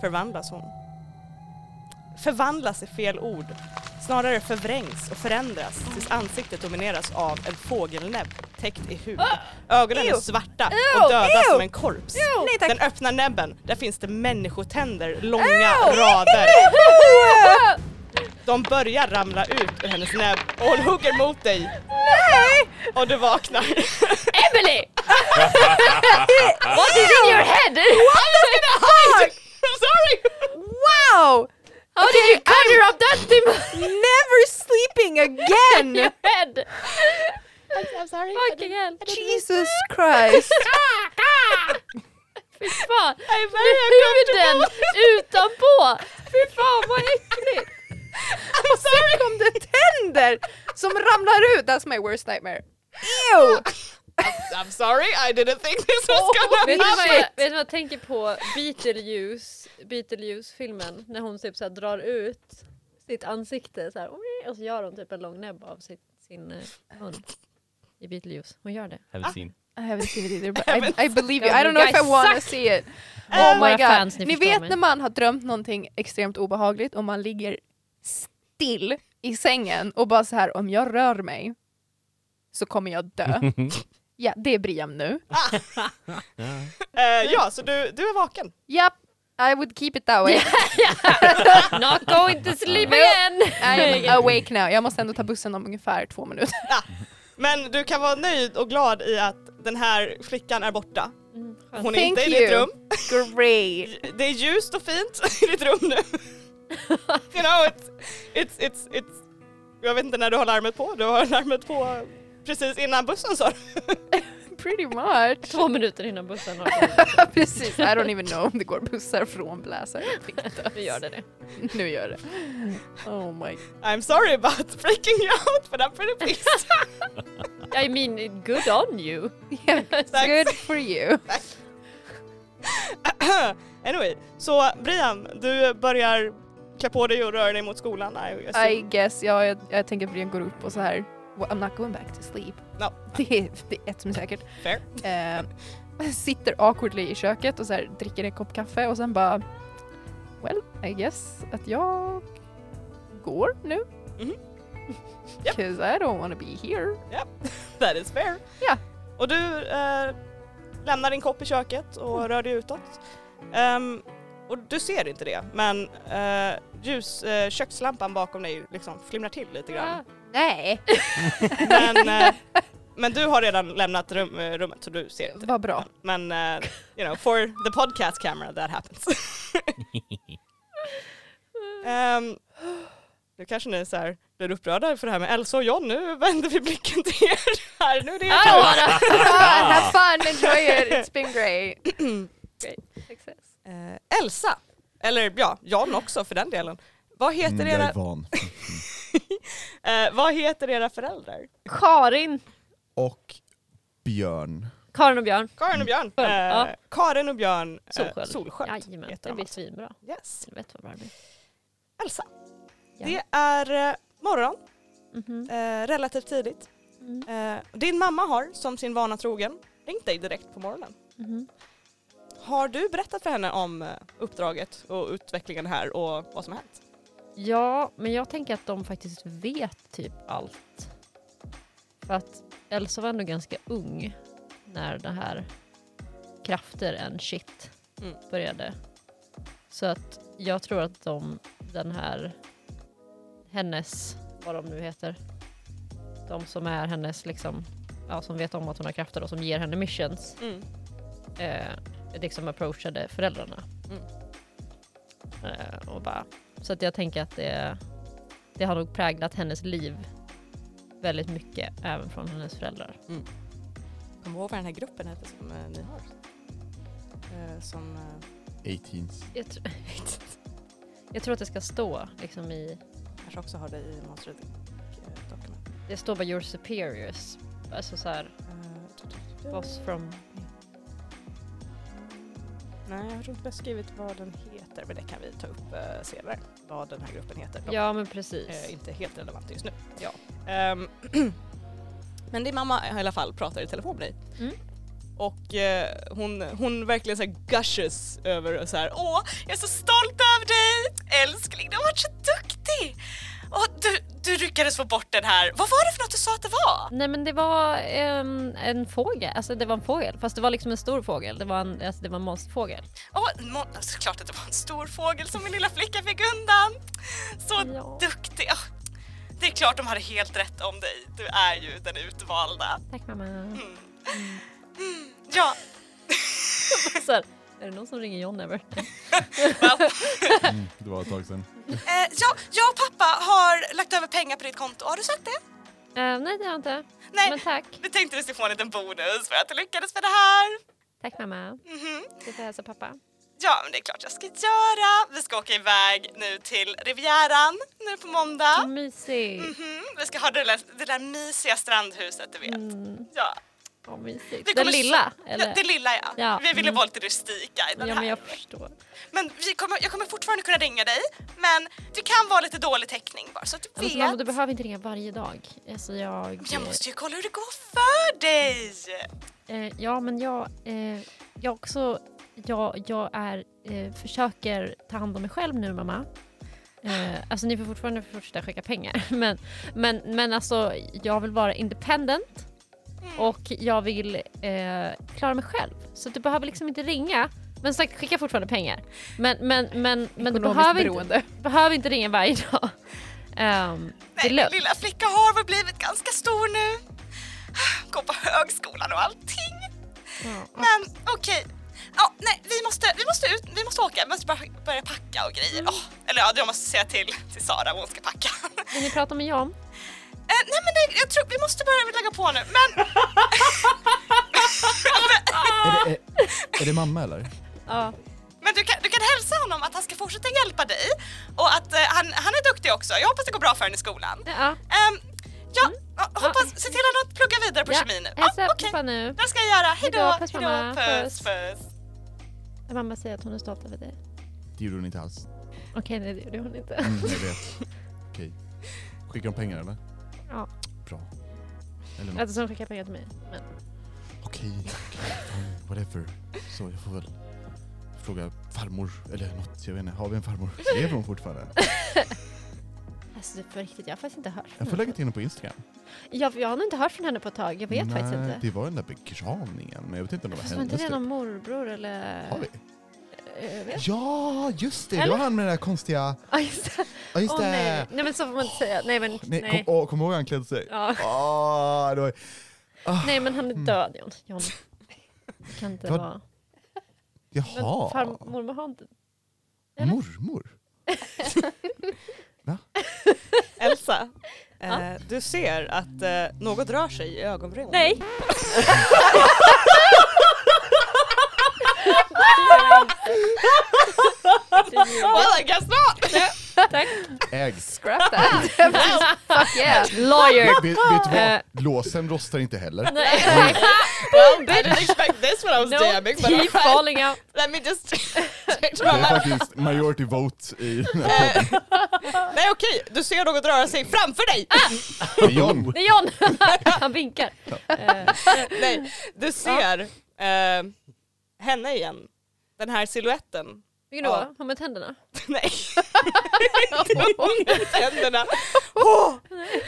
B: förvandlas hon. Förvandlas är fel ord. Snarare förvrängs och förändras
E: Ah.
B: tills ansiktet domineras av en fågelnäbb täckt i hud. Ögonen är
E: Ah. Ew.
B: svarta
E: Ew,
B: och döda
E: ew.
B: som en korps.
E: Nej tack!
B: Den öppna näbben, där finns det människotänder, långa rader. De börjar ramla ut ur hennes näbb och hon hugger mot dig
E: Nej!
B: och du vaknar.
C: Emily!
B: Ah.
C: What is in your head?
B: I'm sorry!
E: Wow!
C: How did you conjure up that demon?
E: Never sleeping again!
C: your head? Fucking hell.
E: Jesus Christ!
C: Fy fan.
B: Jag är very
C: Huden utanpå. Fy fan vad äckligt.
E: Och sen kom det tänder som ramlar ut! That's my worst nightmare. Ew!
B: I'm sorry, I didn't think this was
C: Vet du
B: gonna
C: vad
B: happen!
C: jag, vet du vad jag tänker på? Beetlejuice, Beetlejuice-filmen när hon typ så här drar ut sitt ansikte så här, och så gör hon typ en lång näbb av sitt, sin eh, mun. I Beetlejuice. Hon gör det.
D: Haven't seen.
E: I haven't seen it either but I, I believe you. I don't
C: Ja,
E: know
C: men
E: if I
C: guys,
E: wanna
C: suck.
E: see it.
C: Ja,
E: Oh my
C: våra
E: god.
C: fans,
E: ni
C: ni förstår
E: vet
C: mig.
E: när man har drömt någonting extremt obehagligt och man ligger still i sängen och bara så här om jag rör mig så kommer jag dö. ja, det är Briam nu.
B: Eh, ja, så du, du är vaken.
E: Japp, I would keep it that way.
C: Not going to sleep
E: Ja.
C: again!
E: I'm awake now. Jag måste ändå ta bussen om ungefär två minuter.
B: Men du kan vara nöjd och glad i att den här flickan är borta.
C: Mm, skönt.
B: Hon är
E: Thank
B: inte i
E: you.
B: ditt rum.
E: Great.
B: Det är ljust och fint i ditt rum nu. you know, it's, it's, it's, it's, jag vet inte när du har larmet på. Du har larmet på precis innan bussen sa du.
E: Pretty much.
C: Två minuter innan bussen har
E: Precis, I don't even know om det går bussar från Bläsare.
C: Nu gör det det.
E: Nu gör det. Oh my
B: I'm sorry about freaking you out but I'm pretty pleased.
C: I mean, good on you.
E: god. Good for you.
B: anyway, så Brian, du börjar klä på dig och röra dig mot skolan. I assume.
E: I guess, ja, jag, jag tänker att Brian går upp och så här. "Well, I'm not going back to sleep.
B: No.
E: Det är, det är ett som är säkert.
B: Fair.
E: Eh, sitter awkwardly i köket och så här, dricker en kopp kaffe och sen bara Well, I guess att jag går nu.
B: Mhm. Japp.
E: Cause I don't wanna be here.
B: That is fair.
E: Ja. Mm.
B: Och du eh, lämnar din kopp i köket och rör dig utåt. Ehm, och du ser inte det, men eh, ljus, eh, kökslampan bakom dig liksom flimrar till lite grann.
E: Ah, Nej.
B: Men, eh, men du har redan lämnat rum, eh, rummet så du ser inte det.
E: Vad bra.
B: Men eh, you know, for the podcast camera that happens. Ehm, nu kanske ni så här blir upprörda för det här med Elsa och John, nu vänder vi blicken till er här. Nu är det er tur.
E: Have fun, enjoy it, it's been great.
C: Success.
B: Eh, Elsa, eller ja, Jan också för den delen. Vad heter,
A: Mm, jag
B: era,
A: är van.
B: eh, vad heter era föräldrar?
C: Karin.
A: Och Björn.
C: Karin och Björn.
B: Karin och Björn.
C: Björn,
B: Eh,
C: ja.
B: Karin och Björn eh,
C: Solsköld.
B: Solsköld.
C: Jajamän,
B: heter
C: det
B: de
C: blir
B: alltså.
C: svinbra.
B: Yes.
C: Helvete vad bra det blir.
B: Elsa,
C: Ja.
B: det är eh, morgon,
C: Mhm.
B: eh, relativt tidigt.
C: Mm.
B: Eh, din mamma har, som sin vana trogen, ringt dig direkt på morgonen.
C: Mhm.
B: Har du berättat för henne om eh, uppdraget och utvecklingen här och vad som har hänt?
C: Ja, men jag tänker att de faktiskt vet typ allt. För att Elsa var ändå ganska ung när det här krafter and shit
B: Mm.
C: började. Så att jag tror att de, den här, hennes, vad de nu heter, de som är hennes liksom, ja som vet om att hon har krafter och som ger henne missions,
B: Mm.
C: eh, liksom approachade föräldrarna.
B: Mm.
C: Eh, och bara, så att jag tänker att det, det har nog präglat hennes liv väldigt mycket, även från hennes föräldrar.
B: Kom ihåg vad den här gruppen heter som eh, ni har. Eh, som... Eh,
A: 18s.
C: Jag, tr- jag tror att det ska stå liksom i,
B: kanske också har det i Monster Dokument.
C: det står bara your superiors, alltså så här,
B: Eh,
C: boss from,
B: Nej, jag har inte beskrivit vad den heter, men det kan vi ta upp eh, senare. Vad den här gruppen heter. De
C: ja men
B: är
C: precis.
B: inte helt relevant just nu.
C: Ja.
B: Ehm, men din mamma i alla fall pratar i telefon med dig.
C: Mm.
B: Och eh, hon, hon verkligen så här gushes över och så här åh, jag är så stolt över dig älskling, du har varit så duktig! Och du, du lyckades få bort den här, vad var det för något du sa att det var?
C: Nej men det var en, en fågel, alltså det var en fågel, fast det var liksom en stor fågel, det var en, alltså det var en monsterfågel.
B: Åh, må- såklart att det var en stor fågel som min lilla flicka fick undan. Så
C: Ja.
B: duktig. Ah, Det är klart de hade helt rätt om dig. Du är ju den utvalda.
C: Tack mamma.
B: Ja,
C: Så här, är det någon som ringer John ever?
A: Mm, det var ett tag sedan.
B: eh, ja, jag och pappa har lagt över pengar på ditt konto. Har du sett det?
C: Eh, nej det har jag inte.
B: Nej.
C: Men tack.
B: Vi tänkte vi skulle få en liten bonus för att du lyckades med det här.
C: Tack mamma.
B: Mhm.
C: Du får hälsa pappa.
B: Ja, men det är klart jag ska göra. Vi ska åka iväg nu till Rivieran nu på måndag.
C: Mm. Mysigt.
B: Mhm, Vi ska ha det där, det där mysiga strandhuset, du vet.
C: Mm.
B: Ja.
C: Ja, mysigt.
B: Vi
C: Den
B: kommer-
C: lilla?
B: Ja,
C: Eller?
B: det lilla ja.
C: Ja,
B: Vi ville
C: mm.
B: vara lite rustika i den
C: Ja,
B: här.
C: men jag förstår.
B: Men vi kommer, jag kommer fortfarande kunna ringa dig, men det kan vara lite dålig täckning bara så att du
C: Men
B: vet.
C: så Alltså, mamma, du behöver inte ringa varje dag. Alltså jag...
B: Men jag måste ju kolla hur det går för dig!
C: eh, ja, men jag... Eh, jag också... Jag, jag är, eh, försöker ta hand om mig själv nu, mamma. Eh, alltså ni får fortfarande fortsätta skicka pengar. Men, men, men alltså, jag vill vara independent. Och jag vill eh, klara mig själv. Så du behöver liksom inte ringa. Men som sagt, skicka fortfarande pengar. Men, men, men, men du behöver inte,
E: beroende.
C: behöver inte ringa varje dag. Ehm, det
B: Nej,
C: är
B: min
C: lugnt.
B: lilla flicka har väl blivit ganska stor nu. Går på högskolan och allting.
C: Ja.
B: Men okej. Ja, nej, vi måste, vi måste ut, vi måste åka, vi måste bara börja packa och grejer.
C: Mm.
B: Åh, eller ja, jag måste säga till, till Sara vad hon ska packa.
C: Vill ni prata med John?
B: Eh, nej men nej, jag tror vi måste börja lägga på nu, men
C: Ah!
A: Är det, är, är det mamma eller?
C: Ja.
B: Men du kan, du kan hälsa honom att han ska fortsätta hjälpa dig och att eh, han, han är duktig också. Jag hoppas det går bra för henne i skolan.
C: ja. Mm.
B: Ehm, ja, ja, hoppas, se till att han pluggar vidare på
C: ja.
B: kemi nu.
C: Hälsa
B: ja, Ah, okej.
C: pappa nu.
B: Det ska jag göra. Hej då,
C: Hejdå, puss,
B: hejdå,
C: mamma.
B: puss,
C: Puss.
B: puss.
C: Mamma säger att hon är stolt över dig.
A: Det gjorde hon inte alls.
C: Okej, nej det gjorde hon inte.
A: Mm, jag vet. Okej. Skickar de pengar eller?
C: Ja.
A: Bra. Eller något.
C: Alltså hon skickar pengar till mig. Men
A: Okej, okej, fan, whatever. Så jag får väl fråga farmor eller något. Jag vet inte, har vi en farmor? Lever hon fortfarande?
C: alltså det är på riktigt, jag har faktiskt inte hört från
A: Jag får
C: henne.
A: lägga till henne på Instagram.
C: jag, jag har nog inte hört från henne på ett tag. Jag vet
A: Nej,
C: faktiskt inte.
A: det var den där begravningen men jag vet inte om det var
C: Fast var inte
A: hennes.
C: det
A: typ.
C: någon morbror eller?
A: Har vi?
G: Ja, just det! Det
E: Eller?
G: var han med den där konstiga...
E: Ja, just det.
G: Ja, just
E: Åh
G: det!
E: nej. nej, men så får man inte säga. Nej, men
G: Nej,
E: nej.
G: Kom, åh, kom ihåg hur han klädde sig?
E: Ja.
G: Ah, det var,
E: nej, men han är död John. John. Det kan inte
G: Vad-
E: vara... Men
G: jaha,
E: farmor med handen. eller?
G: mormor?
B: Elsa, eh, du ser att eh, något rör sig i ögonbrynen.
C: Nej!
B: Well, I guess not!
C: Tack.
G: Ägg.
E: Scrap that! Fuck yeah!
C: Lawyer!
G: Vet, vet du
C: Eh.
G: vad? Låsen rostar inte heller.
C: Nej,
B: Well, I didn't expect this when I was
C: no,
B: DMing, but
C: keep
B: alright.
C: falling out.
B: Let me just change
G: Det
B: my
G: är
B: mind.
G: faktiskt majority vote i den här
B: Eh, Nej okej, du ser något röra sig framför dig!
C: Ah.
G: podden. John.
C: Det är John! Han vinkar. Eh,
B: Nej, du ser eh, henne igen. Den här siluetten.
C: Vilken då? Hon med tänderna?
B: Nej. Under tänderna. Åh,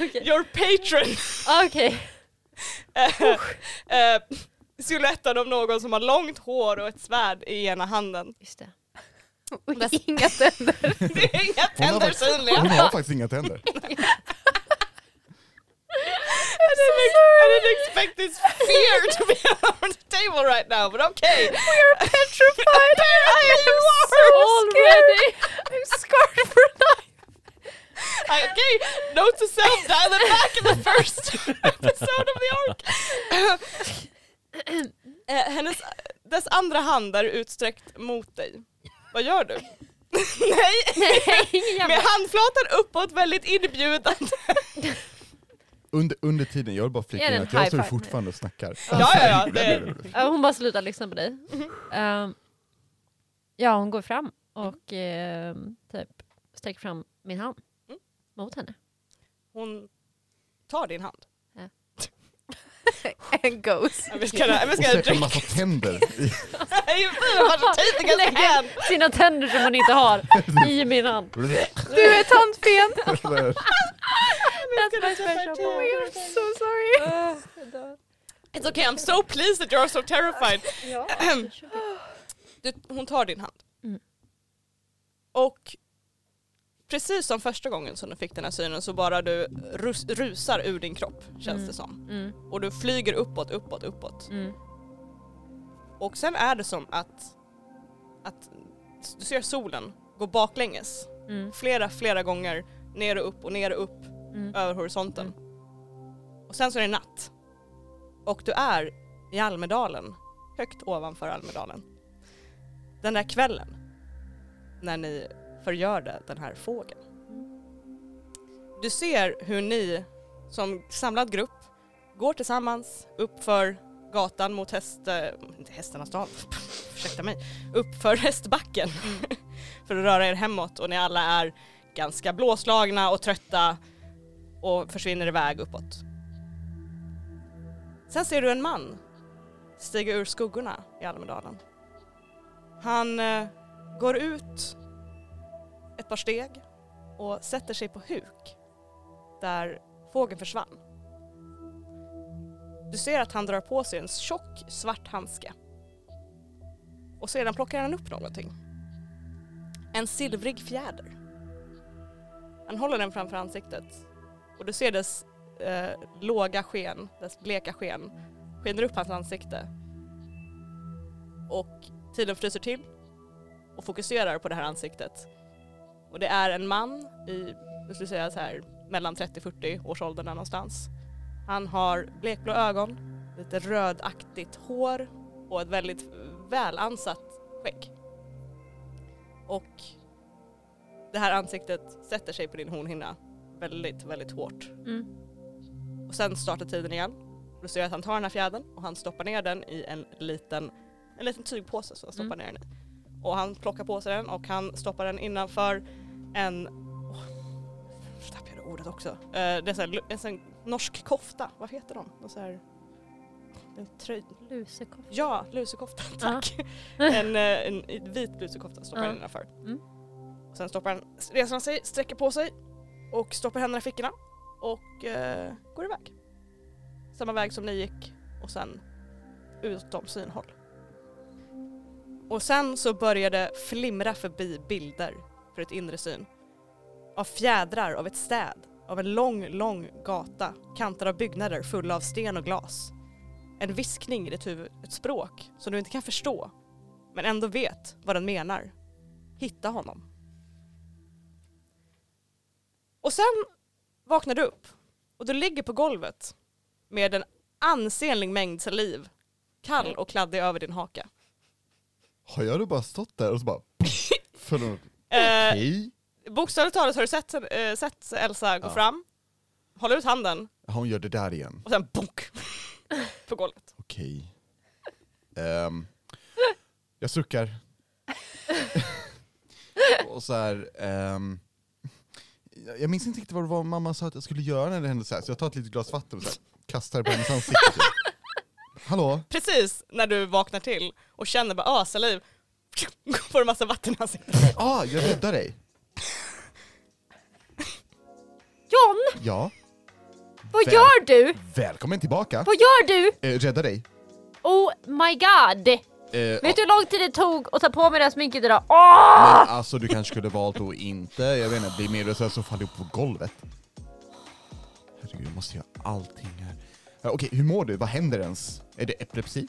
B: Your patron.
C: Ah, Okej.
B: Eh, eh, Siluetten av någon som har långt hår och ett svärd i ena handen.
C: Just det.
E: Och Inga tänder.
B: Det är inga
G: Hon har
B: tänder
G: faktiskt-
B: synliga.
G: Hon har faktiskt inga tänder.
B: I didn't, ex- I didn't expect this fear to be on the table right now, but okay. We are petrified. you are.
C: Already!
E: I'm scarred for life!
B: I- okay, note to self, dial it back in the first episode of the ark. Eh, hennes, dess andra hand är utsträckt mot dig. Vad gör du? Nej,
C: Nej, ingen
B: med
C: jävla...
B: handflatan uppåt väldigt inbjudande.
G: Under, under tiden, jag vill bara flika
C: Är det
G: in
C: en
G: att jag
C: high
G: står ju
C: five?
G: fortfarande och snackar.
B: Ja, ja, ja. Det,
C: Ja, eh, Hon bara slutar lyssna på dig.
B: Mm-hmm.
C: Ehm, ja, hon går fram och ehm, typ sträcker fram min hand
B: Mm.
C: mot henne.
B: hon tar din hand.
E: And goes.
B: I'm just gonna, I'm just
G: Och
B: gonna
G: sätter en
B: drink.
G: massa tänder. i-
B: You are taking us again.
C: Sina tänder som hon inte har i min hand.
E: Du är tandfen!
C: That's my special
E: I'm so sorry!
B: It's okay, I'm so pleased that you're so terrified.
C: Ja.
B: Du, hon tar din hand.
C: Mm.
B: Och precis som första gången som du fick den här synen så bara du rus, rusar ur din kropp känns
C: Mm.
B: det som.
C: Mm,
B: Och du flyger uppåt, uppåt, uppåt.
C: mm.
B: Och sen är det som att, att du ser solen gå baklänges
C: Mm.
B: flera, flera gånger ner och upp och ner och upp
C: Mm.
B: över horisonten. Och sen så är det natt. Och du är i Almedalen, högt ovanför Almedalen. Den där kvällen när ni förgörde den här fågeln. Du ser hur ni som samlad grupp går tillsammans uppför gatan mot häst... eh, Inte hästarnas dal, ursäkta mig. Uppför hästbacken för att röra er hemåt och ni alla är ganska blåslagna och trötta och försvinner iväg uppåt. Sen ser du en man stiga ur skuggorna i Almedalen. Han eh, går ut ett par steg och sätter sig på huk där fågeln försvann. Du ser att han drar på sig en tjock svart handske och sedan plockar han upp någonting. En silvrig fjäder. Han håller den framför ansiktet och du ser dess eh, låga sken, dess bleka sken, skiner upp hans ansikte. Och tiden fryser till och fokuserar på det här ansiktet. Och det är en man i, jag skulle säga så här, mellan 30-40 års ålder där någonstans. Han har blekblå ögon, lite rödaktigt hår och ett väldigt välansatt skägg. Och det här ansiktet sätter sig på din hornhinna väldigt, väldigt hårt.
C: Mm.
B: Och sen startar tiden igen. Och Du ser att han tar den här fjädern och han stoppar ner den i en liten, en liten tygpåse som han stoppar
C: Mm.
B: ner den i. Och han plockar på sig den och han stoppar den innanför en... Åh, nu tappade jag ordet också. Eh, det är så här, en sån norsk kofta, vad heter de? Någon så här, en tröj,
C: Lusekofta.
B: Ja, lusekofta, tack.
C: Ja.
B: en, eh, en vit lusekofta stoppar
C: Ja.
B: han innanför.
C: Mm.
B: Och sen stoppar han, reser han sig, sträcker på sig och stoppar händerna i fickorna och eh, går iväg. Samma väg som ni gick och sen utom synhåll. Och sen så började flimra förbi bilder för ett inre syn. Av fjädrar av ett städ, av en lång, lång gata, kantad av byggnader fulla av sten och glas. En viskning i ditt huvud, ett språk som du inte kan förstå, men ändå vet vad den menar. Hitta honom. Och sen vaknar du upp och du ligger på golvet med en ansenlig mängd saliv, kall och kladdig över din haka.
G: Har jag då bara stått där och så bara... För någon,
B: Eh,
G: hej?
B: Bokstavligt talat har du sett, eh, sett Elsa gå
A: Ja.
B: fram, hålla ut handen
A: Hon gör det där igen.
B: och sen bonk på golvet.
A: Okej. Ehm, jag suckar. och så här, ehm, jag- jag minns inte riktigt vad det var mamma sa att jag skulle göra när det hände så här, så jag tar ett litet glas vatten och så här, kastar det på hennes ansikte. typ. Hallå?
B: Precis när du vaknar till och känner bara ah, saliv, får du massa vatten i ansiktet.
A: Ah, jag räddar dig.
E: John,
A: Ja,
E: vad
A: Väl-
E: gör du?
A: välkommen tillbaka.
E: Vad gör du?
A: Eh, rädda dig.
C: Oh my god!
A: Eh,
C: Vet du hur lång tid det tog att ta på mig det här sminket idag? Åh!
A: Men alltså du kanske skulle valt att inte, jag vet inte, bli medvetslös och så faller upp på golvet. Herregud, jag måste göra allting här. Ja, Okej, hur mår du? Vad händer ens? Är det epilepsi?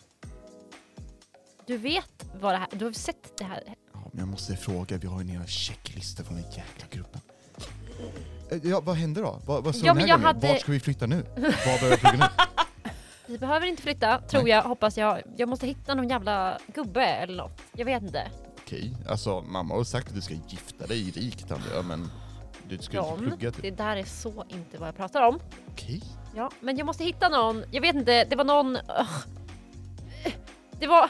C: Du vet vad det här... Du har sett det här?
A: Ja, men jag måste fråga, vi har ju en hel checklista från den jäkla gruppen. Eh, Ja, vad händer då? Vad, vad sa
C: Ja,
A: den
C: men
A: här
C: jag
A: gången?
C: hade-
A: Vart ska vi flytta nu? Vad behöver vi flyga nu?
C: Vi behöver inte flytta, tror jag, hoppas jag. Jag måste hitta någon jävla gubbe eller något. Jag vet inte.
A: Okej, alltså mamma har sagt att du ska gifta dig rikt antar jag, men du ska ju inte
C: John,
A: plugga
C: det
A: typ.
C: där är så inte vad jag pratar om.
A: Okej.
C: Ja, men jag måste hitta någon. Jag vet inte, det var någon... Ugh. Det var...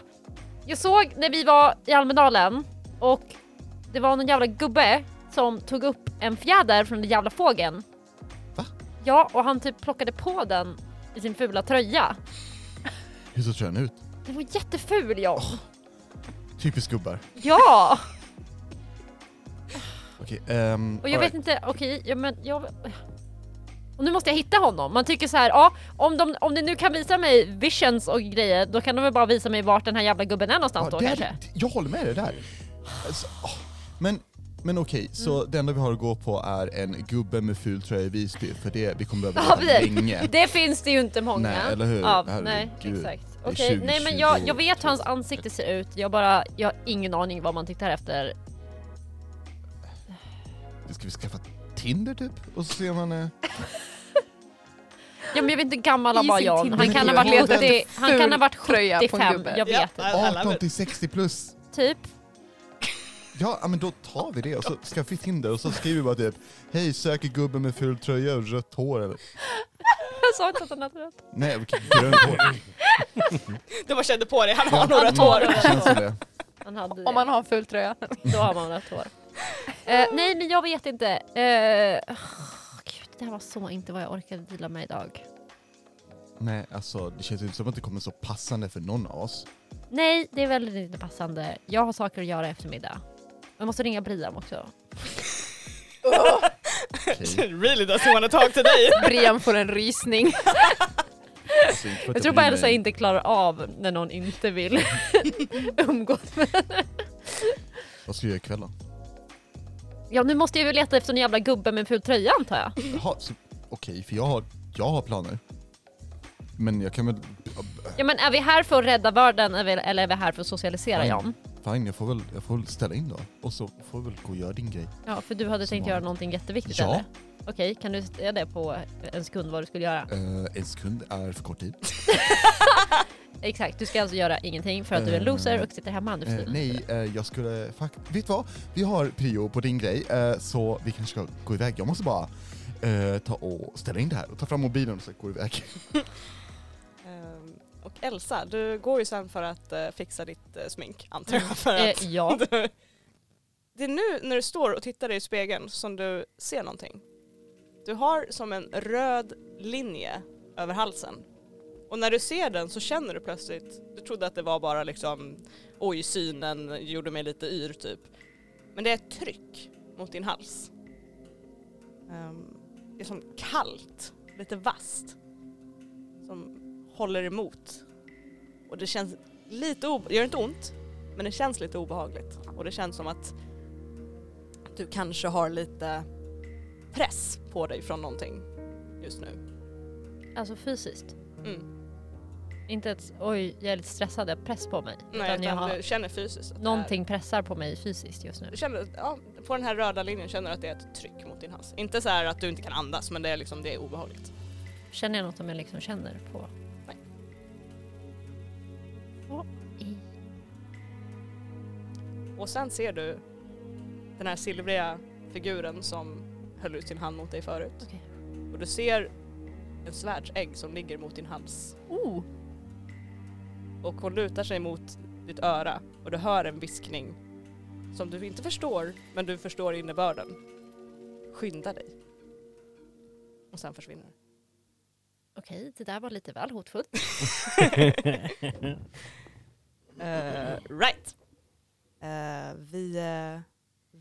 C: Jag såg när vi var i Almedalen och det var någon jävla gubbe som tog upp en fjäder från den jävla fågeln.
A: Va?
C: Ja, och han typ plockade på den i sin fula tröja.
A: Hur såg tröjan ut?
C: Den var jätteful John.
A: Typiskt gubbar.
C: Ja!
A: Okej, ehm...
C: Och jag
A: alright.
C: vet inte, okej, ja, men jag... Och nu måste jag hitta honom. Man tycker så här, ja, om de, om de nu kan visa mig visions och grejer, då kan de väl bara visa mig vart den här jävla gubben är någonstans då
A: det är-
C: kanske.
A: Jag håller med dig där. Alltså, åh. men men okej,
C: Mm.
A: så det enda vi har att gå på är en gubbe med ful tröja i Visby, för det vi kommer
C: Ja,
A: behöva leta
C: precis.
A: länge.
C: Det finns det ju inte många.
A: Nej, eller hur?
C: Ja,
A: Herregud.
C: nej, exakt.
A: Det är
C: Okej,
A: 20,
C: nej men jag,
A: 20.
C: jag vet hur hans ansikte ser ut. Jag bara, jag har ingen aning vad man tittar efter.
A: Ska vi skaffa Tinder typ? Och så ser man... Eh,
C: Ja men jag vet inte hur gammal han
E: I
C: var
E: sin
C: John. Han kan ha
A: Tinder-bio.
C: varit 70, han kan ha varit
E: Ful tröja på en
C: 75.
E: gubbe.
C: Jag vet inte.
B: I- I love
A: 18
B: it.
A: till 60 plus.
C: Typ.
A: Ja, ja, men då tar vi det och så skaffar vi Tinder och så skriver vi bara typ Hej, söker gubbe med ful tröja och rött hår eller...
C: Jag sa inte att han hade rött.
A: Nej, okej, grönt hår.
B: Du bara kände på dig, han
A: Ja,
B: har nog rött
A: mm,
B: hår.
A: det Känns som det.
C: Han hade det.
E: Om man har en ful tröja.
C: Då har man rött hår. Eh, nej men jag vet inte. Eh, åh, gud, det här var så inte vad jag orkade deala med idag.
A: Nej, alltså det känns inte som att det kommer så passande för någon av oss.
C: Nej, det är väldigt inte passande. Jag har saker att göra i eftermiddag. Jag måste ringa Brian också.
A: Okej.
B: really doesn't wanna talk to dig.
E: Brian får en rysning.
A: Alltså, inte för att
C: Jag tror bara
A: bryr
C: Elsa
A: mig.
C: inte klarar av när någon inte vill umgås med
A: Vad ska jag göra ikväll då?
C: Ja nu måste jag ju leta efter en jävla gubbe med en ful tröja antar jag.
A: Jaha, så- okej, för jag har, jag har planer. Men jag kan väl...
C: Ja men är vi här för att rädda världen eller eller är vi här för att socialisera John?
A: Fine, jag får väl, jag får väl ställa in då. Och så får vi väl gå och göra din grej.
C: Ja för du hade tänkt
A: Smart.
C: göra någonting jätteviktigt
A: Ja.
C: eller? Okej, kan du säga det på en sekund vad du skulle göra?
A: Eh, en sekund är för kort tid.
C: Exakt, du ska alltså göra ingenting för att du är en
G: Eh,
C: loser och sitter hemma nu för
A: Eh,
C: tiden.
A: nej, eh, jag skulle faktiskt... Vet du vad? Vi har prio på din grej, eh, så vi kanske ska gå iväg. Jag måste bara eh, ta och ställa in det här och ta fram mobilen och så går vi iväg.
B: Ehm, Och Elsa, du går ju sen för att eh, fixa ditt eh, smink antar jag. För att
C: Eh, ja.
B: Det är nu när du står och tittar dig i spegeln som du ser någonting. Du har som en röd linje över halsen. Och när du ser den så känner du plötsligt, du trodde att det var bara liksom oj synen gjorde mig lite yr typ. Men det är ett tryck mot din hals. Ehm, det är som kallt, lite vasst. Som håller emot. Och det känns lite, o- det gör inte ont, Men det känns lite obehagligt och det känns som att du kanske har lite press på dig från någonting just nu.
C: Alltså fysiskt.
B: Mm.
C: Inte att oj, jag är lite stressad, jag har press på mig.
B: Nej, utan
C: utan jag
B: du
C: har,
B: känner fysiskt. att det är-
C: någonting pressar på mig fysiskt just nu.
B: Du känner, ja, på den här röda linjen känner du att det är ett tryck mot din hals. Inte så här att du inte kan andas men det är liksom, det är obehagligt.
C: Känner jag något som jag liksom känner på?
B: Nej.
C: Vad i...
B: Och sen ser du den här silvriga figuren som höll ut sin hand mot dig förut.
C: Okej.
B: Och du ser en svärdsägg som ligger mot din hals.
C: Oh!
B: Och hon lutar sig mot ditt öra och du hör en viskning som du inte förstår, men du förstår innebörden. Skynda dig. Och sen försvinner den.
C: Okej, det där var lite väl hotfullt.
B: Eh, right. Eh, vi eh,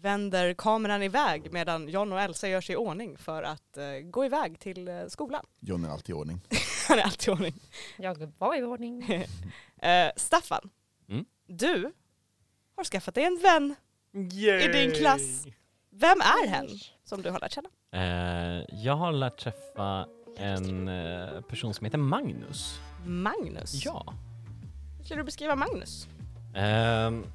B: vänder kameran iväg medan John och Elsa gör sig i ordning för att eh, gå iväg till eh, skolan.
A: John är alltid i ordning.
B: Han är alltid i ordning.
C: Jag var i ordning.
B: Eh, Staffan,
D: Mm.
B: du har skaffat dig en vän.
D: Yay!
B: I din klass. Vem är hen som du har lärt känna?
D: Eh, jag har lärt träffa en eh, person som heter Magnus.
B: Magnus.
D: Ja.
B: Hur skulle du beskriva Magnus?
D: Ehm,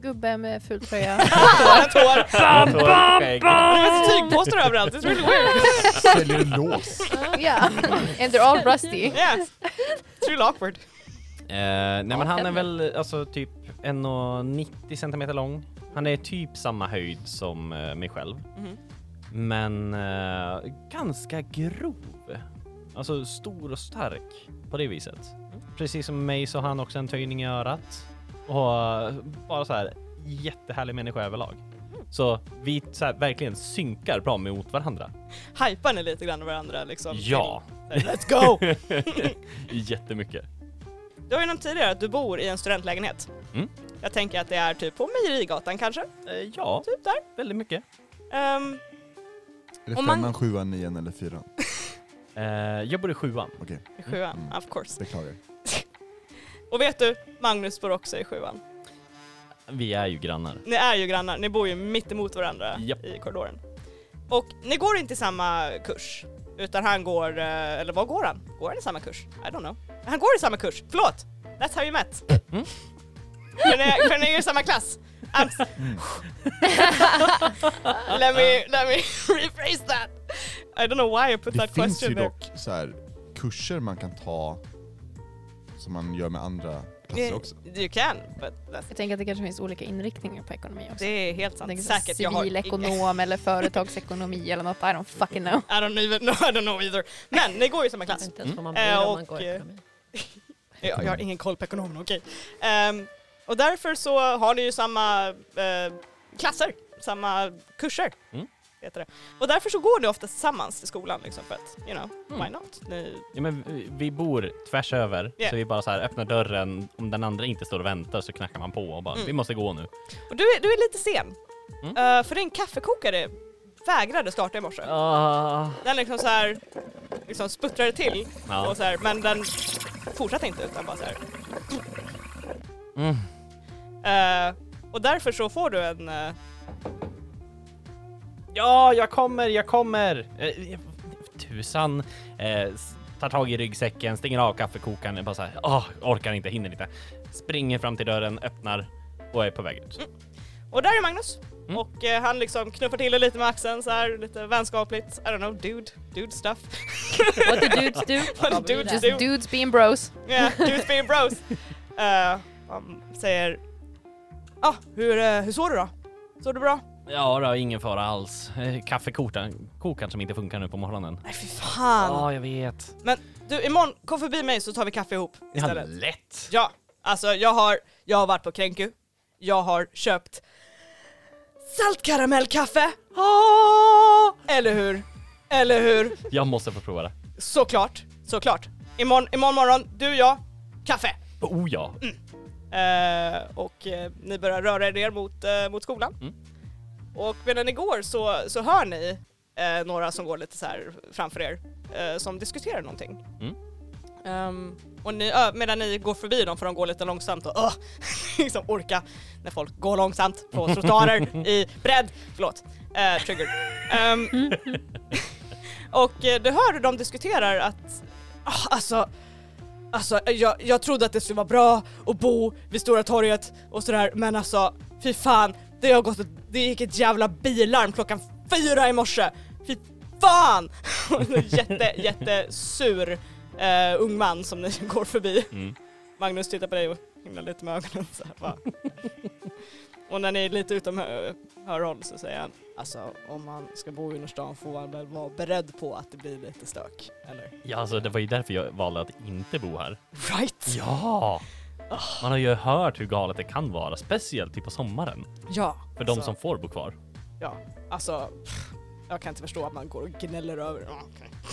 E: Gubbe med ful tröja.
B: Bara tår.
D: jag tror- skägg.
B: Det finns tygpåsar överallt. It's really weird.
G: Säljer lås.
E: yeah. And they're all rusty.
B: Yes. It's really awkward.
D: Eh, nej men han är
C: Henne.
D: väl alltså typ 1,90 centimeter lång. Han är typ samma höjd som eh, mig själv.
B: Mhm.
D: Men eh, ganska grov. Alltså stor och stark på det viset. Precis som mig så har han också en töjning i örat. Och eh, bara så här jättehärlig människa överlag. Så vi så här, verkligen synkar bra mot varandra.
B: Hypar ni lite grann varandra liksom?
D: Ja,
B: Till- Let's go!
D: jättemycket.
B: Du har ju nämnt tidigare att du bor i en studentlägenhet.
D: Mm.
B: Jag tänker att det är typ på Mejerigatan kanske,
D: Eh, ja,
B: typ där.
D: väldigt mycket.
B: Ehm,
G: Är det
B: Om man-
G: femman, sjuan, nian eller fyran?
D: Eh, jag bor i sjuan.
G: Okej,
B: I sjuan,
G: Mm.
B: of course.
G: beklagar.
B: Och vet du, Magnus bor också i sjuan.
D: Vi är ju grannar.
B: Ni är ju grannar, ni bor ju mitt emot varandra
D: Japp.
B: i korridoren. Och ni går inte i samma kurs, utan han går, eh, eller vad går han? Går han i samma kurs? I don't know. Han går i samma kurs, förlåt! That's how you met.
D: Mm.
B: För ni- För ni är ju i samma klass. I'm s- let, me, let me rephrase that. I don't know why I put
G: Det
B: that
G: finns ju
B: question there.
G: dock så här, kurser man kan ta som man gör med andra
B: Eh,
G: klasser också.
B: You can, but that's,
E: Jag tänker att det kanske finns olika inriktningar på ekonomi också.
B: det är helt sant.
E: Jag tänker så här
B: Säkert, jag har ingen-
E: Civilekonom eller företagsekonomi eller något. I don't fucking know.
B: I don't even know, I don't know either. Men ni går ju i samma
C: Jag
B: klass.
C: vet inte ens vad man
B: Mm.
C: blir
B: Eh,
C: om man
B: och,
C: går i
B: eh,
C: ekonomi.
B: Jag,
D: Mm.
B: jag har ingen koll på ekonomerna, okej. Ehm, och därför så har ni ju samma eh, klasser, samma kurser.
D: Mm.
B: Heter det. Och därför så går ni ofta tillsammans till skolan liksom för att, you know, why
D: Mm.
B: not? Ni,
D: Ja, men vi- vi bor tvärs över,
B: Ja.
D: så vi bara så här öppnar dörren. Om den andra inte står och väntar så knackar man på och bara
B: Mm.
D: vi måste gå nu.
B: och du är, du är lite sen.
D: Mm.
B: Eh, för din kaffekokare vägrade starta i morse.
D: Ah.
B: Den liksom så här, liksom sputtrade till
D: Ja.
B: och så här, men den fortsatte inte utan bara så här.
D: Mm.
B: Eh, och därför så får du en... eh,
D: ja, jag kommer, jag kommer! Eh, eh, tusan! Eh, s- tar tag i ryggsäcken, stänger av kaffekokaren, bara så här, ah, orkar inte, hinner inte. Springer fram till dörren, öppnar och är på väg ut.
B: Och där är Magnus.
D: Mm.
B: Och eh, han liksom knuffar till dig lite med axeln så här, lite vänskapligt. I don't know, dude. Dude stuff.
C: What do dudes do?
B: What
C: Vad
B: do
C: blir det?
E: Just
B: do?
E: dudes being bros.
B: Yeah, dudes being bros. Eh, han säger... Ja, ah, hur, eh, hur såg du då? Såg du bra?
D: Ja då, ingen fara alls. Eh, Kaffekokaren kokaren som inte funkar nu på morgonen.
B: Nej fy
D: Ja,
B: fan.
D: jag vet.
B: Du, imorgon kom förbi mig så tar vi kaffe ihop
D: Ja,
B: istället.
D: lätt!
B: Ja, alltså jag har, jag har varit på Kränku. Jag har köpt saltkaramellkaffe. Ah! Eller hur? Eller hur?
D: Jag måste få prova det.
B: Såklart, såklart. Imorgon, imorgon morgon, du, jag, kaffe.
D: Oh ja!
B: Eh, och eh, ni börjar röra er ner mot, eh, mot skolan.
D: Mm.
B: Och medan ni går så, så hör ni eh, några som går lite så här framför er eh, som diskuterar någonting.
D: Mm.
B: Ehm, Och ni, ö, medan ni går förbi dem, för de går lite långsamt och öh, liksom orka när folk går långsamt på trottoarer i bredd. Förlåt, eh, triggered. Ehm, och eh, du hör hur de diskuterar att ah, alltså, alltså jag, jag trodde att det skulle vara bra att bo vid Stora torget och sådär men alltså fy fan, det, har gått ett, det gick ett jävla bilarm klockan fyra i morse. Fy fan! jätte, jättesur eh, ung man som ni går förbi.
D: Mm.
B: Magnus tittar på dig och himlar lite med ögonen så här, bara. Och när ni är lite utom hö- hörhåll så säger han Alltså om man ska bo i innerstan får man väl vara beredd på att det blir lite stök, eller?
D: Ja, alltså det var ju därför jag valde att inte bo här.
B: Right!
D: Ja! Man har ju hört hur galet det kan vara, speciellt typ på sommaren.
B: Ja.
D: För de
B: Så-
D: som får bo kvar.
B: Alltså, pff, jag kan inte förstå att man går och gnäller över det.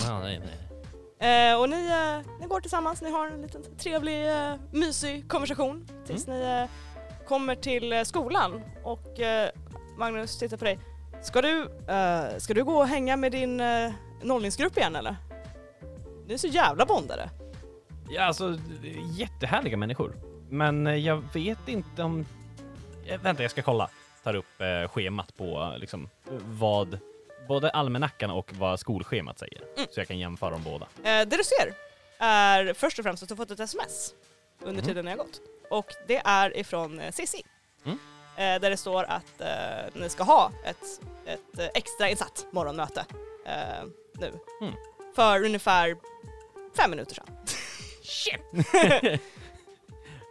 D: Ja, nej, nej.
B: Eh, och ni, eh, ni går tillsammans, ni har en liten trevlig, eh, mysig konversation tills ni eh, kommer till eh, skolan och eh, Magnus tittar på dig. Ska du, eh, ska du gå och hänga med din eh, nollningsgrupp igen eller? Ni är så jävla bondade.
D: Ja, alltså det är jättehärliga människor. Men eh, jag vet inte om... Eh, Vänta, jag ska kolla. Tar upp eh, schemat på eh, liksom, vad både almanackan och vad skolschemat säger. Så jag kan jämföra dem båda.
B: Eh, det du ser är först och främst att du har fått ett sms under
D: Mhm.
B: tiden jag har gått. Och det är ifrån eh, Cissi.
D: Mm.
B: Eh, där det står att eh, ni ska ha ett, ett eh, extra insatt morgonmöte eh, nu.
D: Mm.
B: För ungefär fem minuter sedan.
D: Shit!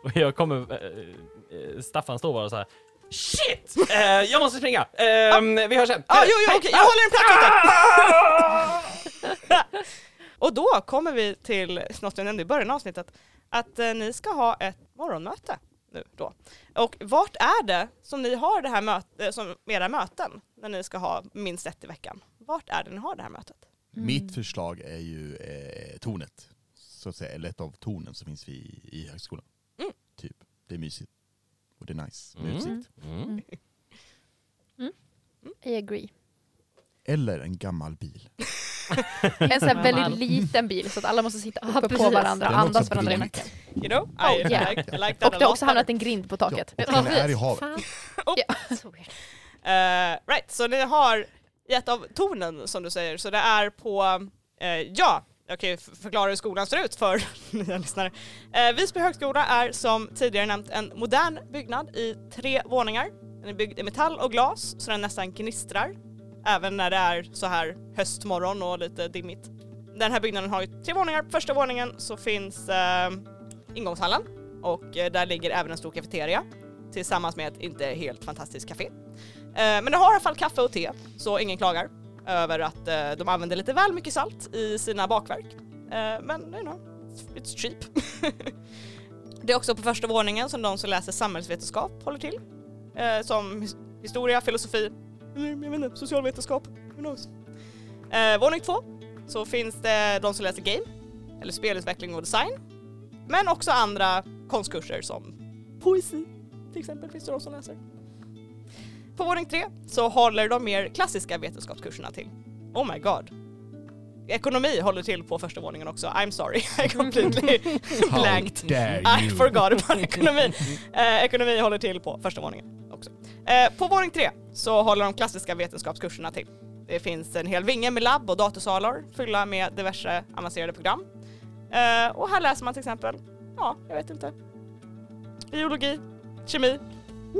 D: och jag kommer... eh, eh, Staffan står bara så här. Shit! Eh, jag måste springa! Eh, Vi hörs sen!
B: Ja, ah, jo, jo, okej, jag håller en platt åt dig! Och då kommer vi till något jag nämnde i början av avsnittet, att eh, ni ska ha ett morgonmöte nu då. Och vart är det som ni har det här mötet, som era möten, när ni ska ha minst ett i veckan? Vart är det ni har det här mötet?
G: Mitt förslag är ju eh, tornet. Så att säga, eller ett av tornen som finns i, i högskolan.
B: Mm.
G: Typ. Det är mysigt. Och det är nice med
D: Mm.
G: utsikt.
D: Mm.
E: I agree.
G: Eller en gammal bil.
E: En sån här
C: Mamma.
E: väldigt liten bil så att alla måste sitta
C: Ja,
E: uppe på
C: precis.
E: varandra och
G: Den är också
E: andas varandra i
G: brunit.
E: nacken.
B: You know? I,
E: Oh, yeah.
B: I, like, I like
E: Och
B: that a
E: det har
B: lot.
E: också hamnat en grind på taket.
G: Ja, och den är i havet.
C: Fan.
B: Oh.
C: Ja. Så weird.
B: Eh, right, så ni har gett av tonen som du säger, så det är på, eh, ja, jag kan ju f- förklara hur skolan ser ut för nya lyssnare. Eh, Visby högskola är som tidigare nämnt en modern byggnad i tre våningar. Den är byggd i metall och glas så den nästan gnistrar, även när det är så här höstmorgon och lite dimmigt. Den här byggnaden har ju tre våningar. På första våningen så finns eh, ingångshallen och eh, där ligger även en stor kafeteria tillsammans med ett inte helt fantastiskt café. Eh, Men det har i alla fall kaffe och te, så ingen klagar över att eh, de använder lite väl mycket salt i sina bakverk. Eh, Men you know, it's cheap. det är också på första våningen som de som läser samhällsvetenskap håller till. Eh, Som his- historia, filosofi, eller, jag vet inte, socialvetenskap, who knows. Eh, Våning två så finns det de som läser game, eller spelutveckling och design. Men också andra konstkurser som poesi till exempel finns det de som läser. På våning tre så håller de mer klassiska vetenskapskurserna till. Oh my god. Ekonomi håller till på första våningen också. I'm sorry, I completely blanked. I forgot about ekonomi. Eh, ekonomi håller till på första våningen också. Eh, på våning tre så håller de klassiska vetenskapskurserna till. Det finns en hel vinge med labb och datorsalar fyllda med diverse avancerade program. Eh, och här läser man till exempel, ja, jag vet inte, biologi, kemi.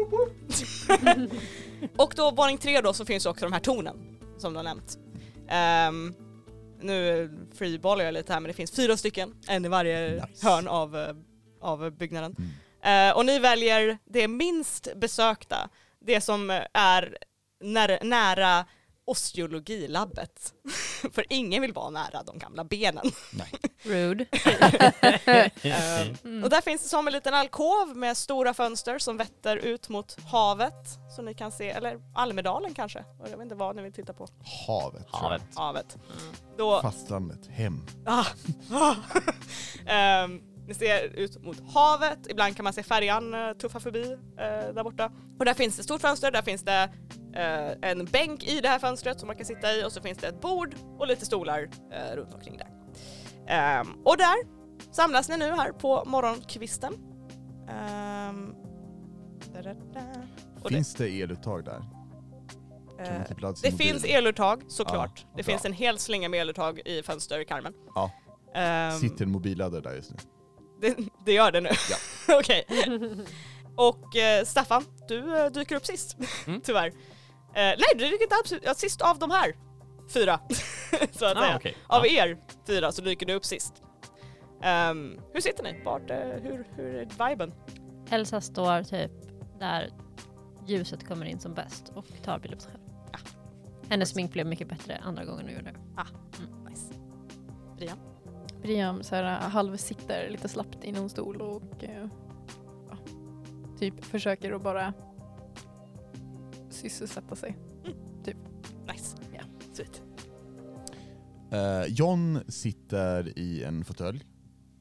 B: och då våning tre då så finns också de här tornen som du har nämnt. Ehm, nu freeballar jag lite här men det finns fyra stycken, en i varje
G: Nice.
B: hörn av, eh, av byggnaden.
G: Mm.
B: Eh, och ni väljer det minst besökta, det som eh, är när, nära osteologilabbet. För ingen vill vara nära de gamla benen.
C: Rude.
D: Mm.
B: Eh,
E: Mm.
B: Och där finns det som en liten alkov med stora fönster som vetter ut mot havet som ni kan se, eller Almedalen kanske, jag vet inte vad ni vill titta på.
G: Havet.
D: Havet.
B: Havet. Då,
G: Fastlandet. Hem.
B: ah, ah, Ehm, ni ser ut mot havet, ibland kan man se färjan eh, tuffa förbi eh, där borta. Och där finns det ett stort fönster, där finns det eh, en bänk i det här fönstret som man kan sitta i och så finns det ett bord och lite stolar eh, runt omkring där. Ehm, och där samlas ni nu här på morgonkvisten. Ehm, da-da-da. Och det-
A: Finns det eluttag där? Kan
B: eh,
A: man typ ladda sin
B: Det
A: mobil?
B: finns eluttag såklart.
A: Ja,
B: det
A: bra.
B: finns en hel slinga med eluttag i fönsterkarmen.
A: Ja.
B: e- Ehm,
A: Sitter en mobilladdare där just nu?
B: det, det gör det nu. Okej. Och eh, Staffan, du eh, dyker upp sist.
D: Mm.
B: Tyvärr. Eh, nej, du dyker inte absolut, ja, sist av de här fyra. så att säga.
D: Ah, okej.
B: Av
D: Ja.
B: er fyra så dyker du upp sist. Ehm, hur sitter ni? Vart, eh, hur, hur är viben?
C: Elsa står typ där ljuset kommer in som bäst och tar bild på sig själv. Hennes smink blev mycket bättre andra gången hon gjorde det.
B: Nice.
E: Briam så här, äh, halvsitter lite slappt i någon stol och eh, ja, typ försöker att bara sysselsätta sig.
B: Nice.
E: Ja.
B: Sweet.
A: Eh, John sitter i en fåtölj.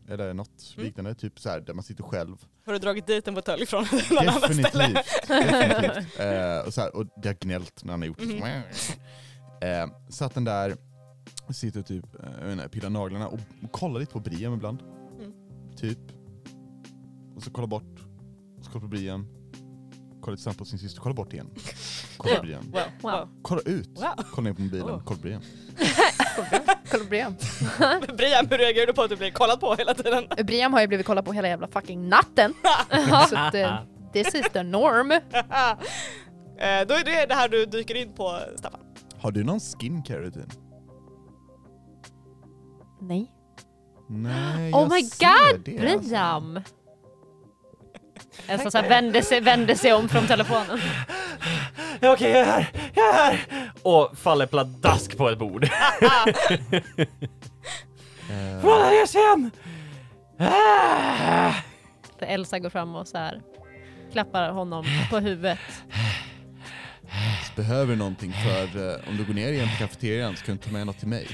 A: Eller något
B: Mm.
A: liknande, typ så här där man sitter själv.
B: Har du dragit dit en fåtölj från någon annan ställe?
A: Definitivt. definitivt. Eh, och, så här, och det har gnällt när han har gjort det.
B: Mm.
A: Eh, satt den där, sitter typ, eh, jag vet inte, pillar naglarna och kollar lite på Brian ibland.
B: Mm.
A: Typ. Och så kollar bort, och så kollar på Brian. Kollar lite snabbt på sin syster, kollar bort igen. Kollar på Brian.
B: Wow.
C: Wow.
B: wow.
A: Kollar ut,
B: wow.
A: kollar ner på mobilen,
B: Oh.
A: kollar på Brian.
E: Kolla på Briam.
B: Brian, hur reagerar du på att du blir kollad på hela tiden?
E: Briam har ju blivit kollad på hela jävla fucking natten. så att, eh, this is the norm.
B: Eh, Då är det det här du dyker in på, Staffan.
A: Har du någon skincare-rutin?
E: Nej.
A: Nej,
C: Oh
A: jag
C: my
A: ser
C: god,
A: det.
C: Briam! Elsa så här vände, sig, vände sig om från telefonen.
D: Okej, jag är här, jag är här! Och faller pladask på ett bord.
A: Eh,
D: Kolla, jag är sen! Ah!
C: För Elsa går fram och så här klappar honom på huvudet.
A: behöver någonting för eh, om du går ner igen till kafeterian så kan du ta med något till mig.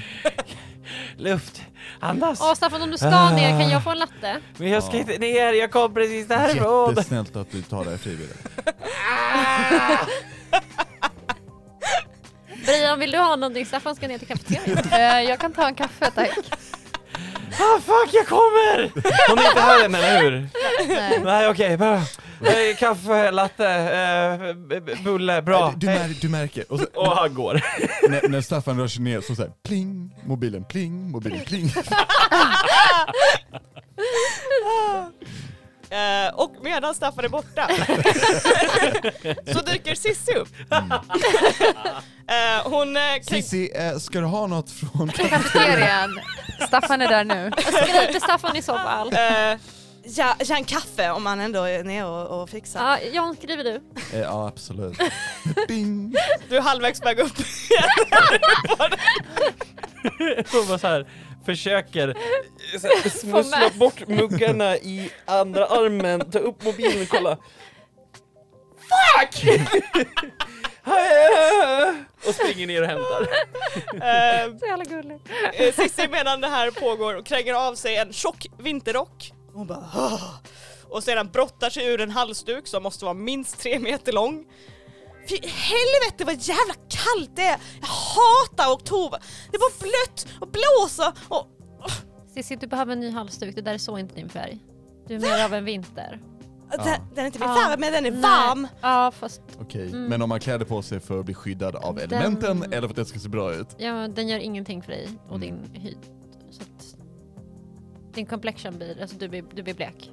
D: Luft, andas!
C: Åh Staffan om du ska ner kan jag få en latte?
D: Men jag ska inte ner, jag kom precis därifrån!
A: Jättesnällt att du tar det här frivilligt.
C: Brian vill du ha någonting? Staffan ska ner till kafeterian.
E: Eh, jag kan ta en kaffe tack.
D: Ah fuck, jag kommer! Hon är inte här än, eller hur?
E: Nej.
D: Nej okej, bra. Eh, Kaffe, latte, eh, b- b- bulle, bra.
A: Nej, Eh, Du, du,
D: Hej.
A: mär, du märker, och så,
D: Och han går.
A: när, när Staffan rör sig ner så säger pling, mobilen pling, mobilen pling.
B: Eh, Och medan Staffan är borta så dyker Sissi upp. Eh, Hon... eh, kan-
A: Cissi, eh, ska du ha något från
E: Kafeterian. Staffan är där nu.
C: Skriker Staffan i så fall.
B: eh, Ja, ja, en kaffe om man ändå är nere och, och fixar.
C: Ja, Jan skriver du.
A: eh, Ja, absolut. Ding.
B: Du är halvvägs på väg upp.
D: Hon bara så här, försöker så här, smussla bort muggarna i andra armen, ta upp mobilen och kolla. Fuck! och springer ner och hämtar.
B: Eh,
C: Så jävla gullig.
B: Eh, Cissi medan det här pågår och kränger av sig en tjock vinterrock. Hon bara "Åh." Och sedan brottar sig ur en halsduk som måste vara minst tre meter lång. Fy helvete vad jävla kallt det är! Jag hatar oktober! Det var blött och blåsa och...
C: Cissi du behöver en ny halsduk, det där är så inte din färg. Du är mer av en vinter.
B: Den, den är inte min
C: Ja.
B: färg men den är
C: Nej.
B: varm!
C: Ja fast
A: Okej, men om man kläder på sig för att bli skyddad av
C: mm. Den-
A: elementen eller för att det ska se bra ut.
C: ja, den gör ingenting för dig och
A: Mm.
C: din hy. Så att din complexion blir, alltså du blir, du blir blek.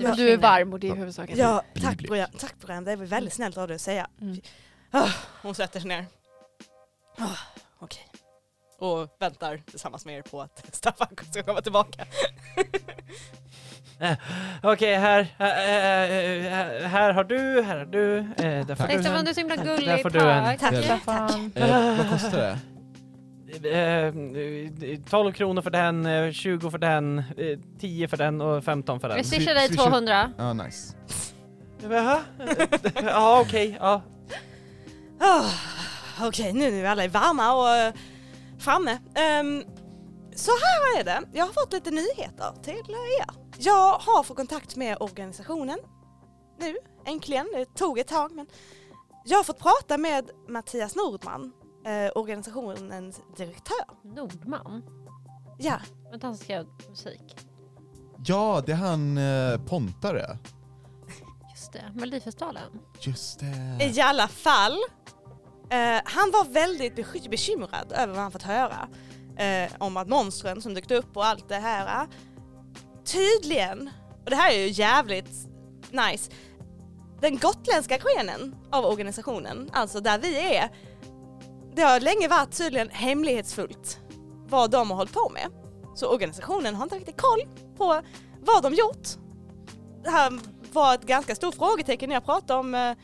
E: Men du är varm och det är huvudsaken.
B: Ja,
A: Bli
B: tack
A: blek.
B: Brian, tack Brian. Det var väldigt snällt av dig att säga.
E: Mm.
B: Ah, Hon sätter sig ner. Ah, Okej. Och väntar tillsammans med er på att Staffan ska komma tillbaka.
D: Okej, här, eh, eh, här har du, här har du, eh, där får
A: Tack.
C: Tack
D: du
C: Stefan
D: en.
C: du är så himla
D: Tack,
C: gullig,
D: där får du en.
C: tack.
A: Tack.
E: Staffan.
A: Eh, vad kostar det?
D: Eh, eh, 12 kronor för den, eh, 20 för den, eh, 10 för den och 15 för den.
C: Jag swishar dig
A: Swisha-
C: 200.
A: Ja, nice.
D: Jaha? Ja, okej. Ja.
B: Ah, Okej, nu när vi alla är varma och eh, framme. Ehm, så här är det, jag har fått lite nyheter till eh, er. Jag har fått kontakt med organisationen nu, äntligen. Det tog ett tag men jag har fått prata med Mattias Nordman, eh, organisationens direktör.
C: Nordman?
F: Ja,
C: Vänta, han ska göra musik.
G: Ja, det är han eh, Pontare.
C: Just det, Melodifestivalen.
G: Just det.
B: I alla fall. Eh, han var väldigt beky- bekymrad över vad han fått höra. Eh, om att monstren som dykt upp och allt det här. Tydligen, och det här är ju jävligt nice. Den gotländska skenen av organisationen, alltså där vi är. Det har länge varit tydligen hemlighetsfullt vad de har hållit på med. Så organisationen har inte riktigt koll på vad de gjort. Det här var ett ganska stort frågetecken när jag pratade om eh,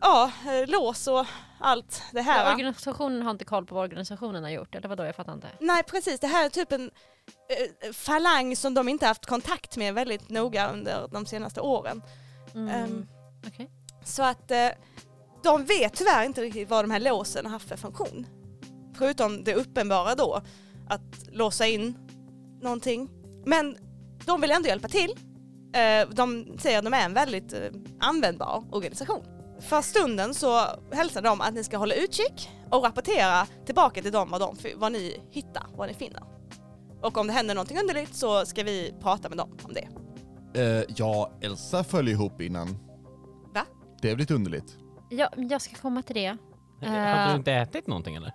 B: ja, eh, lås och allt det här. va?
C: Organisationen har inte koll på vad organisationen har gjort, eller vadå? Jag fattar inte.
B: Nej precis, det här är typ en eh, falang som de inte haft kontakt med väldigt noga under de senaste åren.
C: Mm.
B: Ehm,
C: okej.
B: Så att eh, de vet tyvärr inte riktigt vad de här låsen har haft för funktion. Förutom det uppenbara då, att låsa in någonting. Men de vill ändå hjälpa till. Eh, de säger att de är en väldigt eh, användbar organisation. För stunden så hälsar de att ni ska hålla utkik och rapportera tillbaka till dem vad, de, vad ni hittar, vad ni finner. Och om det händer någonting underligt så ska vi prata med dem om det.
G: Eh, ja, Elsa föll ihop innan.
B: Va?
G: Det är väl lite underligt?
C: Ja, men jag ska komma till det.
D: Hade
C: Eh.
D: du inte ätit någonting eller?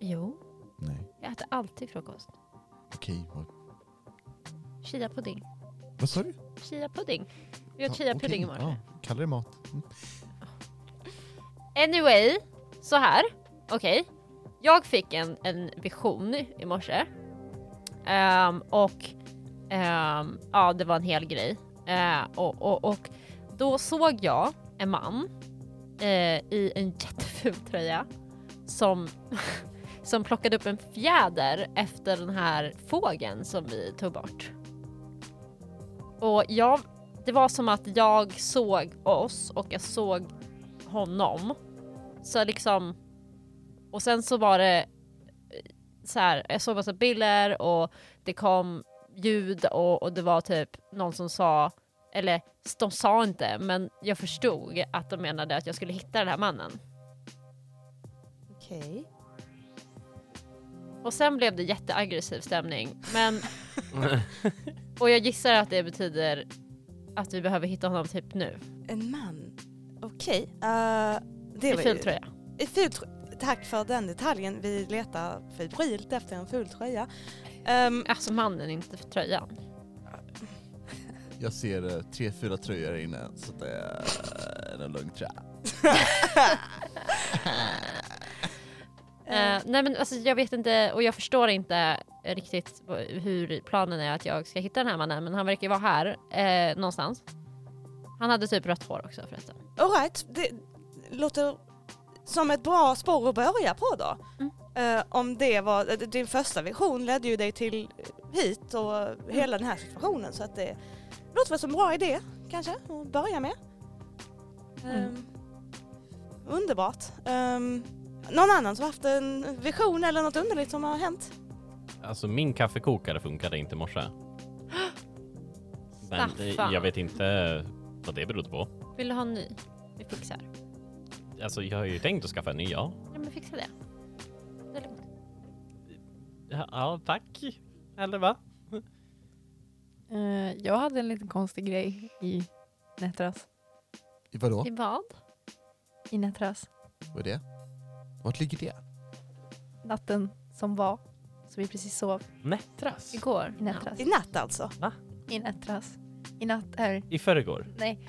C: Jo,
G: Nej,
C: jag äter alltid frukost.
G: okej. Vad,
C: Chia pudding.
G: vad sa du?
C: Chia pudding. Vi
G: Ja,
C: åt chia
G: okej,
C: pudding i morse.
G: ja, kallar det mat. Mm.
C: Anyway, så här. Okej. Jag fick en, en vision i morse. Ehm, och ehm, ja, det var en hel grej. Eh, och, och, och då såg jag en man eh, i en jätteful tröja som, som plockade upp en fjäder efter den här fågeln som vi tog bort. Och jag, det var som att jag såg oss och jag såg honom. Så liksom... Och sen så var det eh, så här, jag såg massa bilder och det kom ljud och, och det var typ någon som sa, eller de sa inte, men jag förstod att de menade att jag skulle hitta den här mannen.
B: Okej.
C: Och sen blev det jätteaggressiv stämning, men... och jag gissar att det betyder att vi behöver hitta honom typ nu.
B: En man? Okej. eh, det
C: I
B: var ju-
C: ful tröja.
B: I ful trö- Tack för den detaljen. Vi letar febrilt efter en ful tröja. Ehm,
C: Alltså mannen, inte för tröjan.
G: Jag ser eh, tre, fyra tröjor här inne, så det är en lugn trä.
C: Eh, nej men alltså jag vet inte och jag förstår inte eh, riktigt v- hur planen är att jag ska hitta den här mannen men han verkar ju vara här eh, någonstans. Han hade typ rött hår också förresten.
B: all right. Det låter som ett bra spår att börja på då.
C: Mm.
B: Eh, om det var, eh, din första vision ledde ju dig till eh, hit och
C: Mm.
B: hela den här situationen så att det låter väl som en bra idé kanske att börja med.
C: Mm.
B: Ehm, underbart. Ehm, någon annan som haft en vision eller något underligt som har hänt?
D: Alltså min kaffekokare funkade inte i morse. Men eh,
C: Staffan.
D: jag vet inte vad det berodde på.
C: Vill du ha en ny? Vi fixar.
D: Alltså jag har ju tänkt att skaffa en ny, ja.
C: Ja men fixa det. Det är lugnt.
D: Ja, Ja, tack. Eller va?
E: Eh, jag hade en liten konstig grej i nätteras.
G: Vadå?
C: I vad?
E: I nätteras.
G: Vad är det? Vart ligger det?
E: Natten som var. Så vi precis sov.
D: Nättras?
C: Igår?
E: I nätteras.
B: I natt alltså?
E: I nätteras. I natt är...
D: I förrgår?
E: Nej.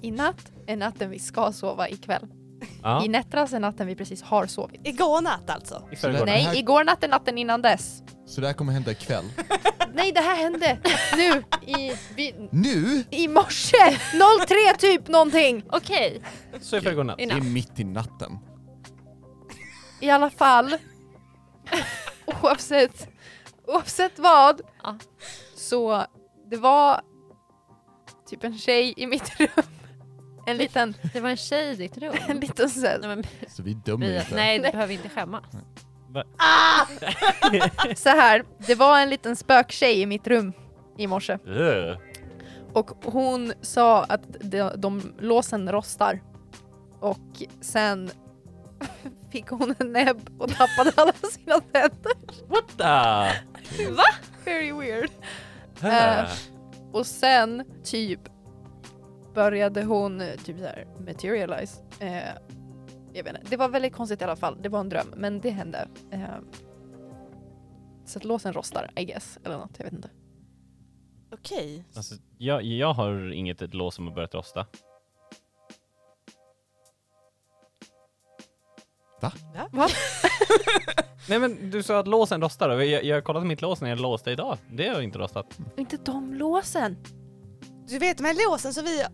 E: I natt är natten vi ska sova ikväll.
D: Ja.
E: I nätteras är natten vi precis har sovit.
B: Igår natt alltså?
D: I
G: Så
D: förrgår?
G: där-
E: Nej,
G: här-
E: igår natt är natten innan dess.
G: Så det här kommer hända ikväll.
E: Nej, det här hände nu i, vi,
G: Nu!
E: i morse! 03 typ någonting.
C: Okej.
D: Så i förrgår natt?
G: Det är mitt i natten.
E: I alla fall. oavsett, oavsett vad.
C: Ja.
E: Så det var typ en tjej i mitt rum. En liten,
C: Det var en tjej i ditt rum.
E: en liten sen.
C: Nej, men,
G: Så vi dömer
C: vi,
G: inte.
C: nej du behöver inte skämmas.
E: Så här, det var en liten spöktjej i mitt rum i morse.
D: Ugh.
E: Och hon sa att de, de låsen rostar. Och sen fick hon en näbb och tappade alla sina tänder.
D: What the?
E: Very weird. Eh, Och sen typ började hon eh, typ så här materialize. Eh, jag vet inte, det var väldigt konstigt i alla fall. Det var en dröm, men det hände. Eh, så att låsen rostar, I guess, eller något, jag vet inte.
B: Okej.
D: Alltså, jag, jag har inget ett lås som har börjat rosta. Nej men du sa att låsen rostar och jag, jag har kollat mitt lås när jag låste idag. Det har inte rostat.
E: Inte de låsen!
B: Du vet de här låsen som vi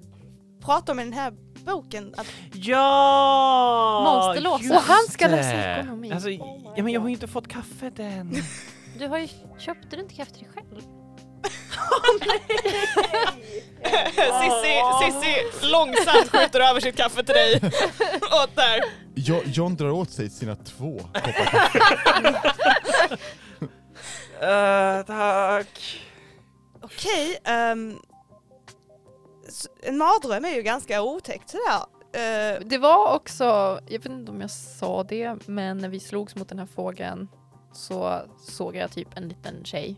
B: pratar om i den här boken? Att
D: Ja!
C: Monsterlåsen.
E: Och han ska
D: det.
E: läsa ekonomi.
D: Alltså, ja, men jag har ju inte fått kaffet än.
C: Du har ju, köpte du inte kaffe till dig själv?
B: Sissi, Sissi långsamt skjuter över sitt kaffe till dig. Och där.
G: Jo- John drar åt sig sina två koppar
D: Eh, tack.
B: Okej, ehm, s- en mardröm är ju ganska otäckt sådär. Eh,
E: Det var också, jag vet inte om jag sa det, men när vi slogs mot den här fågeln så såg jag typ en liten tjej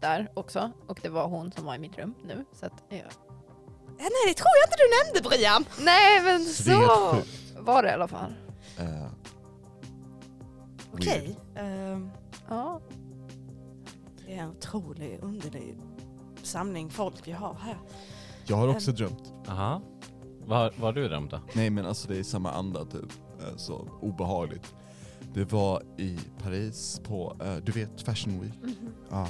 E: där också och det var hon som var i mitt rum nu. Så att, ja.
B: nej, det tror jag inte du nämnde Brian.
E: Nej men
G: Så det är helt
E: så
G: sjukt.
E: var det i alla fall.
G: Eh,
B: Okej. ehm,
E: Ja.
B: det är en otrolig, underlig samling folk vi har här.
G: jag har
B: Ehm.
G: också drömt.
D: Aha. Vad har- vad har du drömt då?
G: Nej men alltså det är samma anda typ. Eh, Så obehagligt. Det var i Paris på, eh, du vet Fashion Week.
C: Mm-hmm.
G: Ja.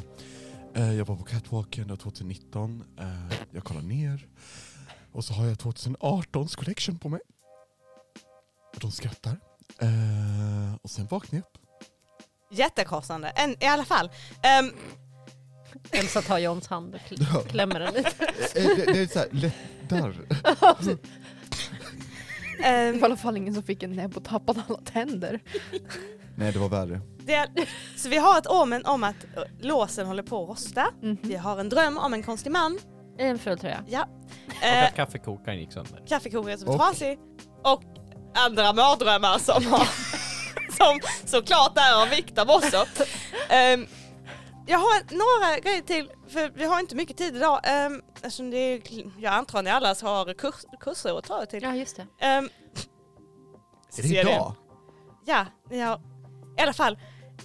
G: Eh, Jag var på catwalken, det var 2019. Eh, Jag kollar ner. Och så har jag 2018s collection på mig. Och de skrattar. Eh, Och sen vaknar jag upp.
B: Jättekrossande, en, i alla fall. Ehm,
C: Elsa tar Johns hand och kl- klämmer den lite.
G: Eh, Det, det är såhär lättar.
E: Det
B: ehm,
E: var i alla fall ingen som fick en näbb och tappade alla tänder.
G: Nej det var värre.
B: det, så vi har ett omen om att eh, låsen håller på att rosta.
E: Mhm.
B: Vi har en dröm om en konstig man.
C: I en fulltröja.
D: Och
B: Eh,
D: att kaffekokaren gick sönder.
B: kaffekokaren som är
G: Och-
B: trasig och andra mardrömmar som har som såklart är av vikt av också. Ehm, jag har några grejer till, för vi har inte mycket tid idag. Um, eftersom det är, jag antar att ni alla har kurs, kurser att ta er till.
C: Ja, just det.
B: Ehm,
G: Är
B: ser
G: det idag?
B: Ja, ja. i alla fall.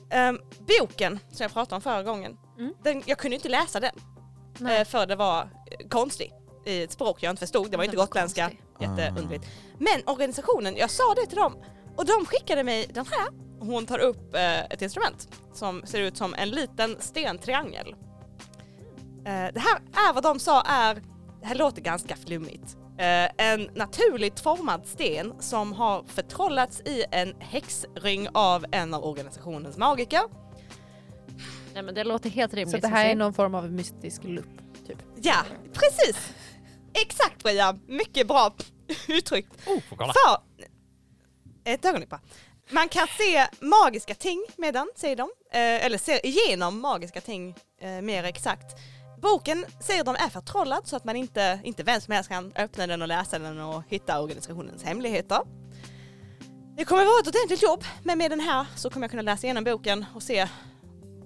B: ehm, boken som jag pratade om förra gången.
C: Mm.
B: Den, jag kunde inte läsa den.
C: Nej.
B: eh, För det var eh, konstig. I ett språk jag inte förstod. Det var inte gotländska.
C: konstig.
B: Jätteundligt. Men organisationen, jag sa det till dem och de skickade mig den här. Hon tar upp eh, ett instrument som ser ut som en liten stentriangel. Eh, det här är vad de sa är, det här låter ganska flummigt, eh, en naturligt formad sten som har förtrollats i en häxring av en av organisationens magiker.
C: Nej men det låter helt rimligt.
E: Så det här är
C: Cecil.
E: någon form av mystisk lupp. typ.
B: Ja, precis! Exakt Brian, mycket bra uttryckt.
D: Oh, får kolla.
B: För, eh, ett ögonblick bara. Man kan se magiska ting med den, säger de. Eh, eller ser igenom magiska ting eh, mer exakt. Boken säger de är förtrollad så att man inte, inte vem som helst kan öppna den och läsa den och hitta organisationens hemligheter. Det kommer vara ett ordentligt jobb, men med den här så kommer jag kunna läsa igenom boken och se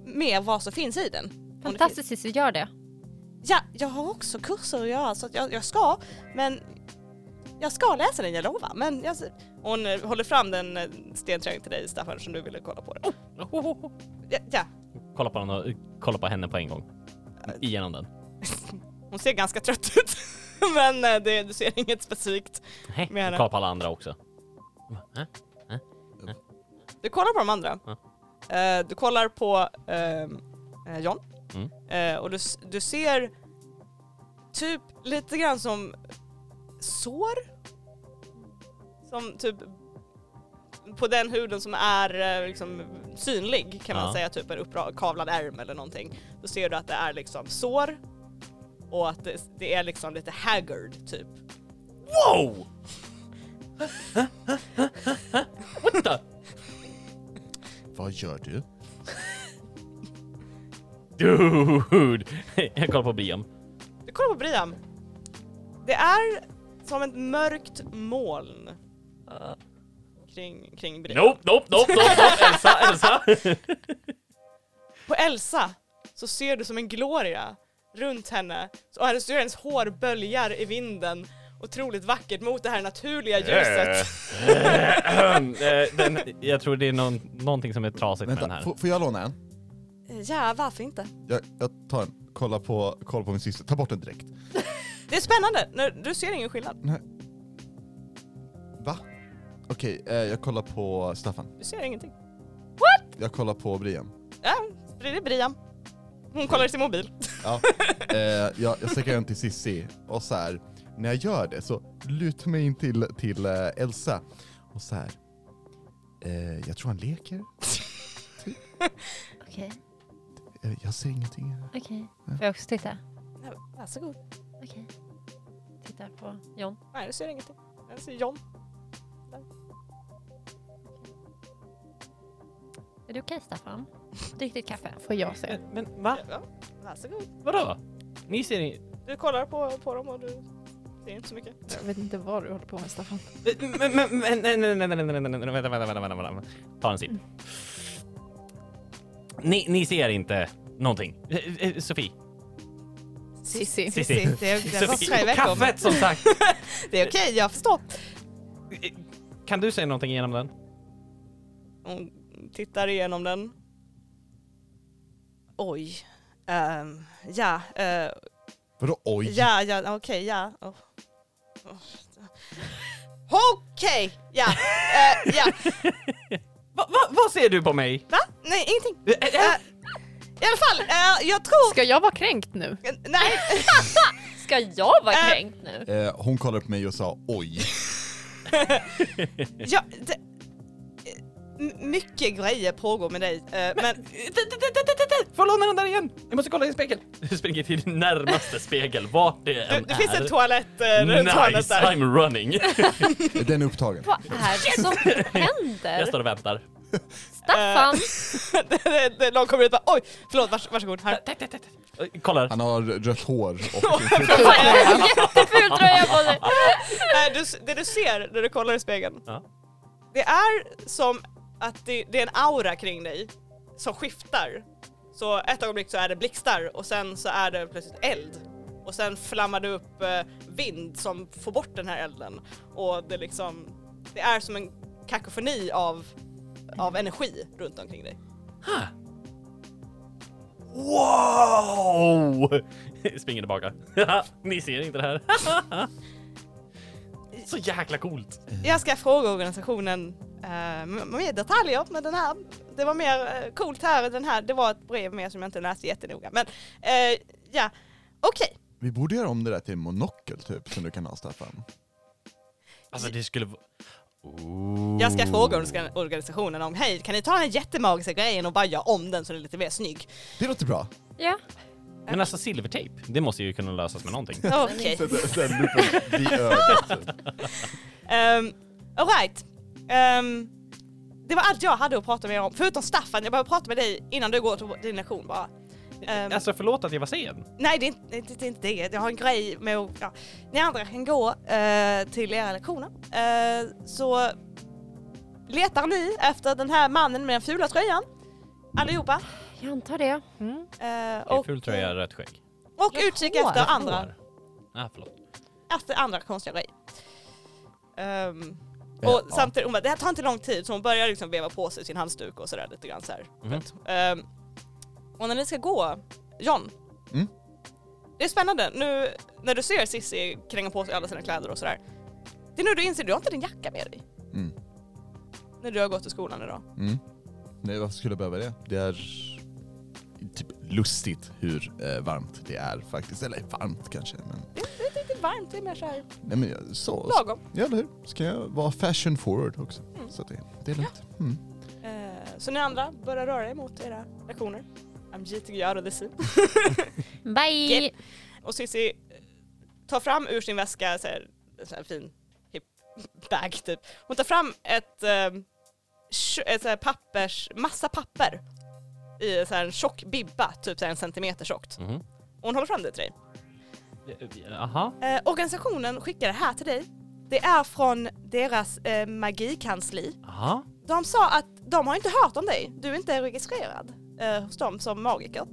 B: mer vad som finns i den. Om det finns-
C: Fantastiskt Cissi, gör det.
B: Ja, jag har också kurser att göra så att jag, jag ska, men jag ska läsa den, jag lovar. Men jag, hon eh, håller fram den eh, stentröjan till dig Staffan som du ville kolla på. Den. Oh,
D: Oh,
B: Ja, ja,
D: Kolla på, den och, eh, kolla på henne på en gång. Igenom den.
B: hon ser ganska trött ut. men eh, det, du ser inget specifikt.
D: Nej,
B: Menar du?
D: kolla på alla andra också. Äh?
B: Du kollar på de andra.
D: Ja.
B: Eh, du kollar på ehm, eh, John.
D: Mm.
B: Eh, och du, s- du ser typ lite grann som sår. Som typ på den huden som är eh, liksom synlig kan man
D: Ja.
B: säga, typ en uppkavlad ärm eller någonting. Då ser du att det är liksom sår och att det, det är liksom lite haggard typ.
D: Wow! What the?
G: Vad gör du?
D: Dude! Jag kollar på Briam.
B: Du kollar på Brian. Det är som ett mörkt moln kring, kring Brina.
D: Nope, nope, nope, nope, nope. Elsa, Elsa.
B: På Elsa så ser du som en gloria runt henne och hennes, hur hennes hår böljar i vinden otroligt vackert mot det här naturliga ljuset.
D: Eh, den, jag tror det är någon, någonting som är trasigt med den
A: Vänta,
D: här.
A: får, får jag låna en?
B: Ja, Eh, varför inte?
A: Jag, jag tar en. Kolla på, kolla på min syster. Ta bort den direkt.
B: Det är spännande, när du ser ingen skillnad.
A: Va? Okej, eh, jag kollar på Staffan.
B: Du ser ingenting.
A: Jag kollar på Brian.
B: Ja, det är Brian. Hon kollar i sin mobil.
A: Ja. Eh, jag, jag sträcker den till Sissi och så här. när jag gör det så lutar mig in till, till eh, Elsa och så här. Eh, jag tror han leker.
C: Okej,
A: Eh, jag ser ingenting.
C: okej. Får jag också titta?
B: Varsågod.
C: Okej. Titta på John.
B: Nej, du ser ingenting. Jag ser John.
C: Är det okej Staffan? Drick ditt kaffe.
E: Får jag se?
D: Eh, Men va?
B: Ja, varsågod.
D: Vadå? Ni ser in...
B: Du kollar på, på dem och du ser inte så mycket.
E: Jag vet inte vad du håller på med Staffan.
D: Men, Eh, men, men, men, nej, nej, nej, nej, nej, nej, nej, nej, vänta, vänta, vänta, vänta, vänta. Ta en sipp. Ni, ni ser inte någonting. Eh, eh, Sofie.
E: Sissi.
D: Sissi.
B: Sissi, det är- det var
D: Sofie.
B: tre veckor.
D: Kaffet som sagt.
B: Det är okej, jag förstår.
D: Eh, Kan du säga någonting genom den?
B: Hon tittar igenom den. Oj. Ehm, ja, eh,
A: Vadå oj?
B: ja, ja, okej, ja. Oh. Oh. Okej, ja. eh, ja.
D: Va, va, vad ser du på mig?
B: Va? Nej, ingenting.
D: Eh, eh,
B: Eh, I alla fall, eh, jag tror...
E: Ska jag vara kränkt nu?
B: Eh, Nej,
C: Ska jag vara
B: Äh.
C: kränkt nu?
A: Eh, hon kollade på mig och sa oj.
B: ja, det, eh, m- mycket grejer pågår med dig. eh, men
D: Får jag låna den där igen? Jag måste kolla i en spegel. Du springer till din närmaste spegel, vart det
B: det,
D: än
B: det
D: är.
B: finns en toalett eh, runt hörnet
D: Nice,
B: där.
D: I'm running.
A: Eh, den är upptagen.
C: Vad är det som
D: Jag
C: händer?
D: står och väntar.
C: Staffan!
B: det, det, det, någon kommer ut och bara oj, förlåt, vars, varsågod. Här.
D: Eh, Kollar.
A: Han har rött hår och
C: Jätteful tröja på dig!
B: Nej, du, det du ser när du kollar i spegeln,
D: Ja.
B: det är som att det, det är en aura kring dig som skiftar. Så ett ögonblick så är det blixtar och sen så är det plötsligt eld. Och sen flammar det upp eh, vind som får bort den här elden. Och det, liksom, det är som en kakofoni av, av energi runt omkring dig.
D: Wow! Springer tillbaka. Ni ser inte det här. Så jäkla coolt.
B: Jag ska fråga organisationen eh, m- mer detaljer men den här, det var mer eh, coolt här, den här, det var ett brev mer som jag inte läste jättenoga. Men eh, ja, okej.
A: Vi borde göra om det där till en monokel typ som du kan ha Staffan.
D: Alltså det skulle vara...
B: Jag
D: Mm.
B: ska fråga organ- organisationen om hej, kan ni ta den här jättemagiska grejen och bara göra om den så den är lite mer snygg?
A: Det låter bra.
C: Ja,
D: Men alltså silvertejp, det måste ju kunna lösas med någonting.
B: Okej.
A: Sen lupen vid ögat.
B: Um, Alright. Um, det var allt jag hade att prata med er om, förutom Staffan, jag behöver prata med dig innan du går till din lektion bara. Ehm,
D: Alltså förlåt att jag var sen.
B: Nej, det är, inte, det, det är inte det. Jag har en grej med att... Ja. Ni andra kan gå eh, till era lektioner. Eh, så letar ni efter den här mannen med den fula tröjan. Allihopa.
C: jag antar det.
B: Eh,
D: Det är
B: och
D: ful tröja, rött skägg.
B: och
C: Jag
B: utkik
C: har-
B: efter andra,
D: Hår. Ah, förlåt.
B: efter Alltså, andra konstiga grejer. Ehm,
A: Eh,
B: och
A: ja.
B: samtidigt, hon bara, det här tar inte lång tid, så hon börjar liksom veva på sig sin halsduk och sådär lite grann så här.
D: Mhm.
B: Ehm, och när ni ska gå, John.
A: Mm.
B: Det är spännande, nu när du ser Sissi kränga på sig alla sina kläder och sådär. Det är nu du inser, du har inte din jacka med dig.
A: Mm.
B: När du har gått till skolan idag.
A: Mm. Nej, varför skulle jag behöva det? Det är typ lustigt hur eh, varmt det är faktiskt. Eller varmt kanske, men...
B: Det, det, det är inte varmt, det är mer såhär
A: Nej men jag- så... så
B: lagom.
A: ja, eller hur? Ska jag vara fashion forward också?
B: Mm.
A: Så att det, det är lugnt. Mm.
B: Eh, så ni andra börjar röra er mot era lektioner. I'm getting you out of the sea.
C: Bye!
B: Och Cissi eh, tar fram ur sin väska så här, en sån här fin hip bag typ. Hon tar fram ett, eh, tjo- ett så här pappers, massa papper i så här en tjock bibba, typ så här en centimeter tjockt.
D: Mhm.
B: Och hon håller fram det till dig.
D: eh, Aha.
B: Eh, organisationen skickar det här till dig Det är från deras eh, magikansli.
D: Ja.
B: De sa att de har inte hört om dig, du är inte registrerad eh, hos dem som magiker.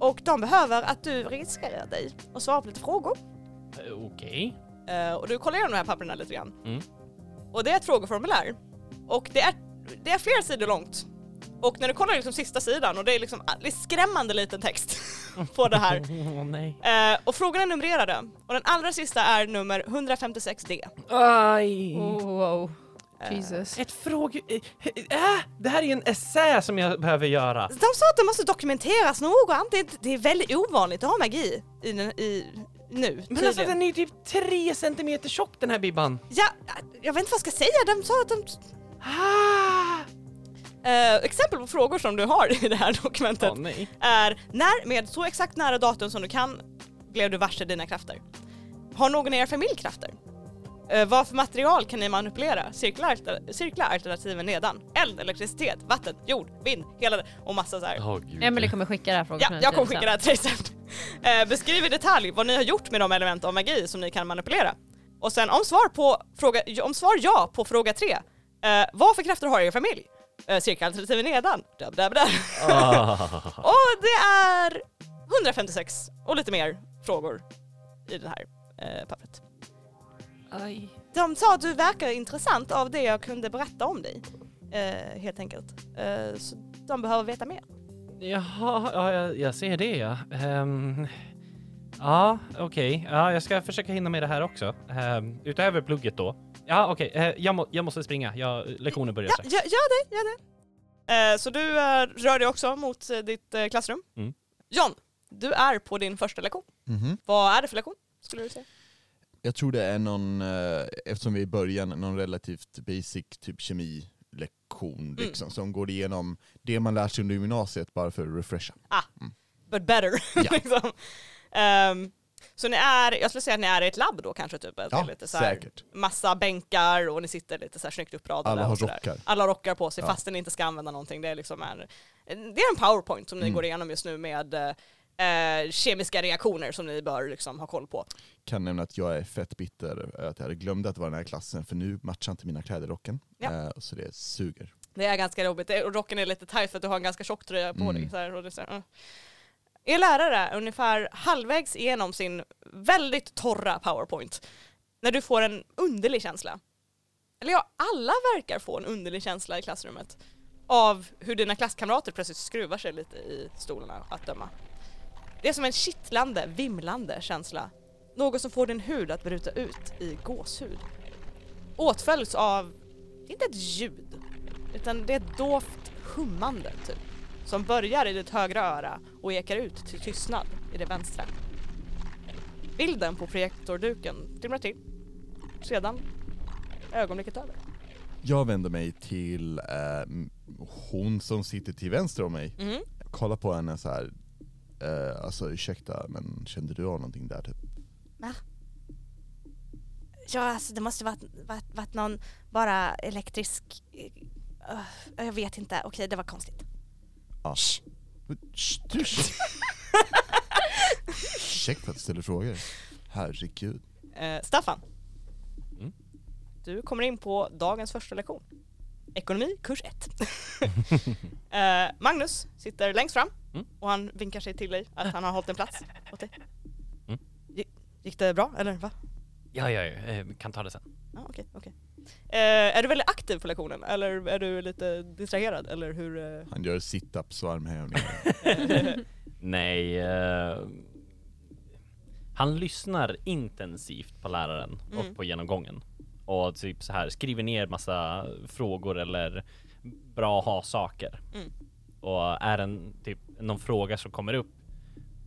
B: Och de behöver att du registrerar dig och svarar på lite frågor.
D: Eh, Okej.
B: Eh, och du kollar igenom de här papperna lite grann.
D: Mm.
B: Och det är ett frågeformulär. Och det är, det är flera sidor långt. Och när du kollar liksom sista sidan och det är liksom det är skrämmande liten text på det här.
D: Åh nej.
B: Eh, och frågorna är numrerade. Och den allra sista är nummer 156D.
D: Aj.
E: Oh, Wow.
B: Eh,
E: Jesus.
D: Ett fråge... eh, Äh, det här är ju en essä som jag behöver göra.
B: De sa att det måste dokumenteras noggrant. Det är, det är väldigt ovanligt att ha magi i, den- i, nu.
D: Men alltså
B: tydligen.
D: den är ju typ tre centimeter tjock den här bibban.
B: ja, jag vet inte vad jag ska säga. De sa att de...
D: Ah!
B: Eh, exempel på frågor som du har i det här dokumentet
D: Åh nej.
B: är när, med så exakt nära datum som du kan, blev du varse dina krafter? Har någon i er familj krafter? Eh, vad för material kan ni manipulera? Cirkla, alter- cirkla alternativen nedan. Eld, elektricitet, vatten, jord, vind, hela det och massa så här.
D: Åh gud.
C: Emelie kommer skicka det här frågan
B: Ja,
C: till mig
B: jag kommer
C: sen.
B: skicka det här till dig sen. Eh, beskriv i detalj vad ni har gjort med de element av magi som ni kan manipulera. Och sen om svar, på fråga, om svar ja på fråga tre, eh, vad för krafter har er familj? Eh, Cirkelalternativen nedan. Dab, dab, dab.
D: Ah.
B: Och det är 156 och lite mer frågor i det här eh, pappret.
C: Aj.
B: De sa att du verkar intressant av det jag kunde berätta om dig. Eh, helt enkelt. Eh, så de behöver veta mer.
D: Jaha, ja, jag, jag ser det ja. Ehm, ja, okej. Ja, jag ska försöka hinna med det här också. Ehm, utöver plugget då. Ja, okej. Eh, jag, må, jag måste springa. Jag, lektionen börjar
B: Ja,
D: strax.
B: gör, gör det, gör det. Eh, så du eh, rör dig också mot eh, ditt eh, klassrum.
D: Mm.
B: John, du är på din första lektion.
A: Mhm.
B: Vad är det för lektion? Skulle du säga?
A: Jag tror det är någon, eh, eftersom vi är i början, någon relativt basic typ
B: Mm.
A: kemilektion liksom, som går igenom det man lär sig under gymnasiet bara för att refresha.
B: But better.
A: Ja.
B: liksom. Ehm, så ni är, jag skulle säga att ni är i ett labb då kanske, typ. Att det är
A: Ja,
B: lite så här,
A: säkert.
B: massa bänkar och ni sitter lite så här snyggt uppradade.
A: Alla har
B: och så där.
A: rockar.
B: Alla har rockar på sig
A: Ja.
B: fastän ni inte ska använda någonting. Det är, liksom en, det är en powerpoint som ni
A: Mm.
B: går igenom just nu med eh, kemiska reaktioner som ni bör liksom, ha koll på.
A: Kan nämna att jag är fett bitter över att jag hade glömt att det var den här klassen för nu matchar inte mina kläder rocken.
B: Ja.
A: Eh, så det suger.
B: Det är ganska jobbigt. Det- Och rocken är lite tajt för att du har en ganska tjock tröja på
A: Mm.
B: dig. Så här, och det är så här, uh. Er lärare är ungefär halvvägs igenom sin väldigt torra powerpoint. När du får en underlig känsla. Eller ja, alla verkar få en underlig känsla i klassrummet. Av hur dina klasskamrater plötsligt skruvar sig lite i stolarna att döma. Det är som en kittlande, vimlande känsla. Något som får din hud att bryta ut i gåshud. Åtföljs av, det är inte ett ljud, utan det är ett dovt hummande typ. Som börjar i ditt högra öra och ekar ut till tystnad i det vänstra. Bilden på projektorduken flimrar till. Sedan är ögonblicket över.
A: Jag vänder mig till eh, hon som sitter till vänster om mig.
B: Mm.
A: Kollar på henne så här. Eh, alltså ursäkta men kände du av någonting där typ?
B: Ja, alltså det måste varit, varit, varit någon bara elektrisk... eh, jag vet inte, okej det var konstigt.
A: Ja. Sch, du- Ursäkta att jag ställer frågor. Herregud.
B: Eh, Staffan.
D: Mm.
B: Du kommer in på dagens första lektion. Ekonomi, kurs 1. eh, Magnus sitter längst fram
D: Mm.
B: och han vinkar sig till dig att han har hållit en plats åt dig.
D: Mm.
B: Gi- Gick det bra eller? Va?
D: Ja, ja, ja. Eh, kan ta det sen.
B: Ja, okej, okej. Eh, är du väldigt aktiv på lektionen eller är du lite distraherad eller hur? eh?
A: Han gör situps och armhävningar.
D: Nej. eh, han lyssnar intensivt på läraren
B: Mm.
D: och på genomgången. Och typ så här skriver ner massa frågor eller bra ha-saker.
B: Mm.
D: Och är en typ någon fråga som kommer upp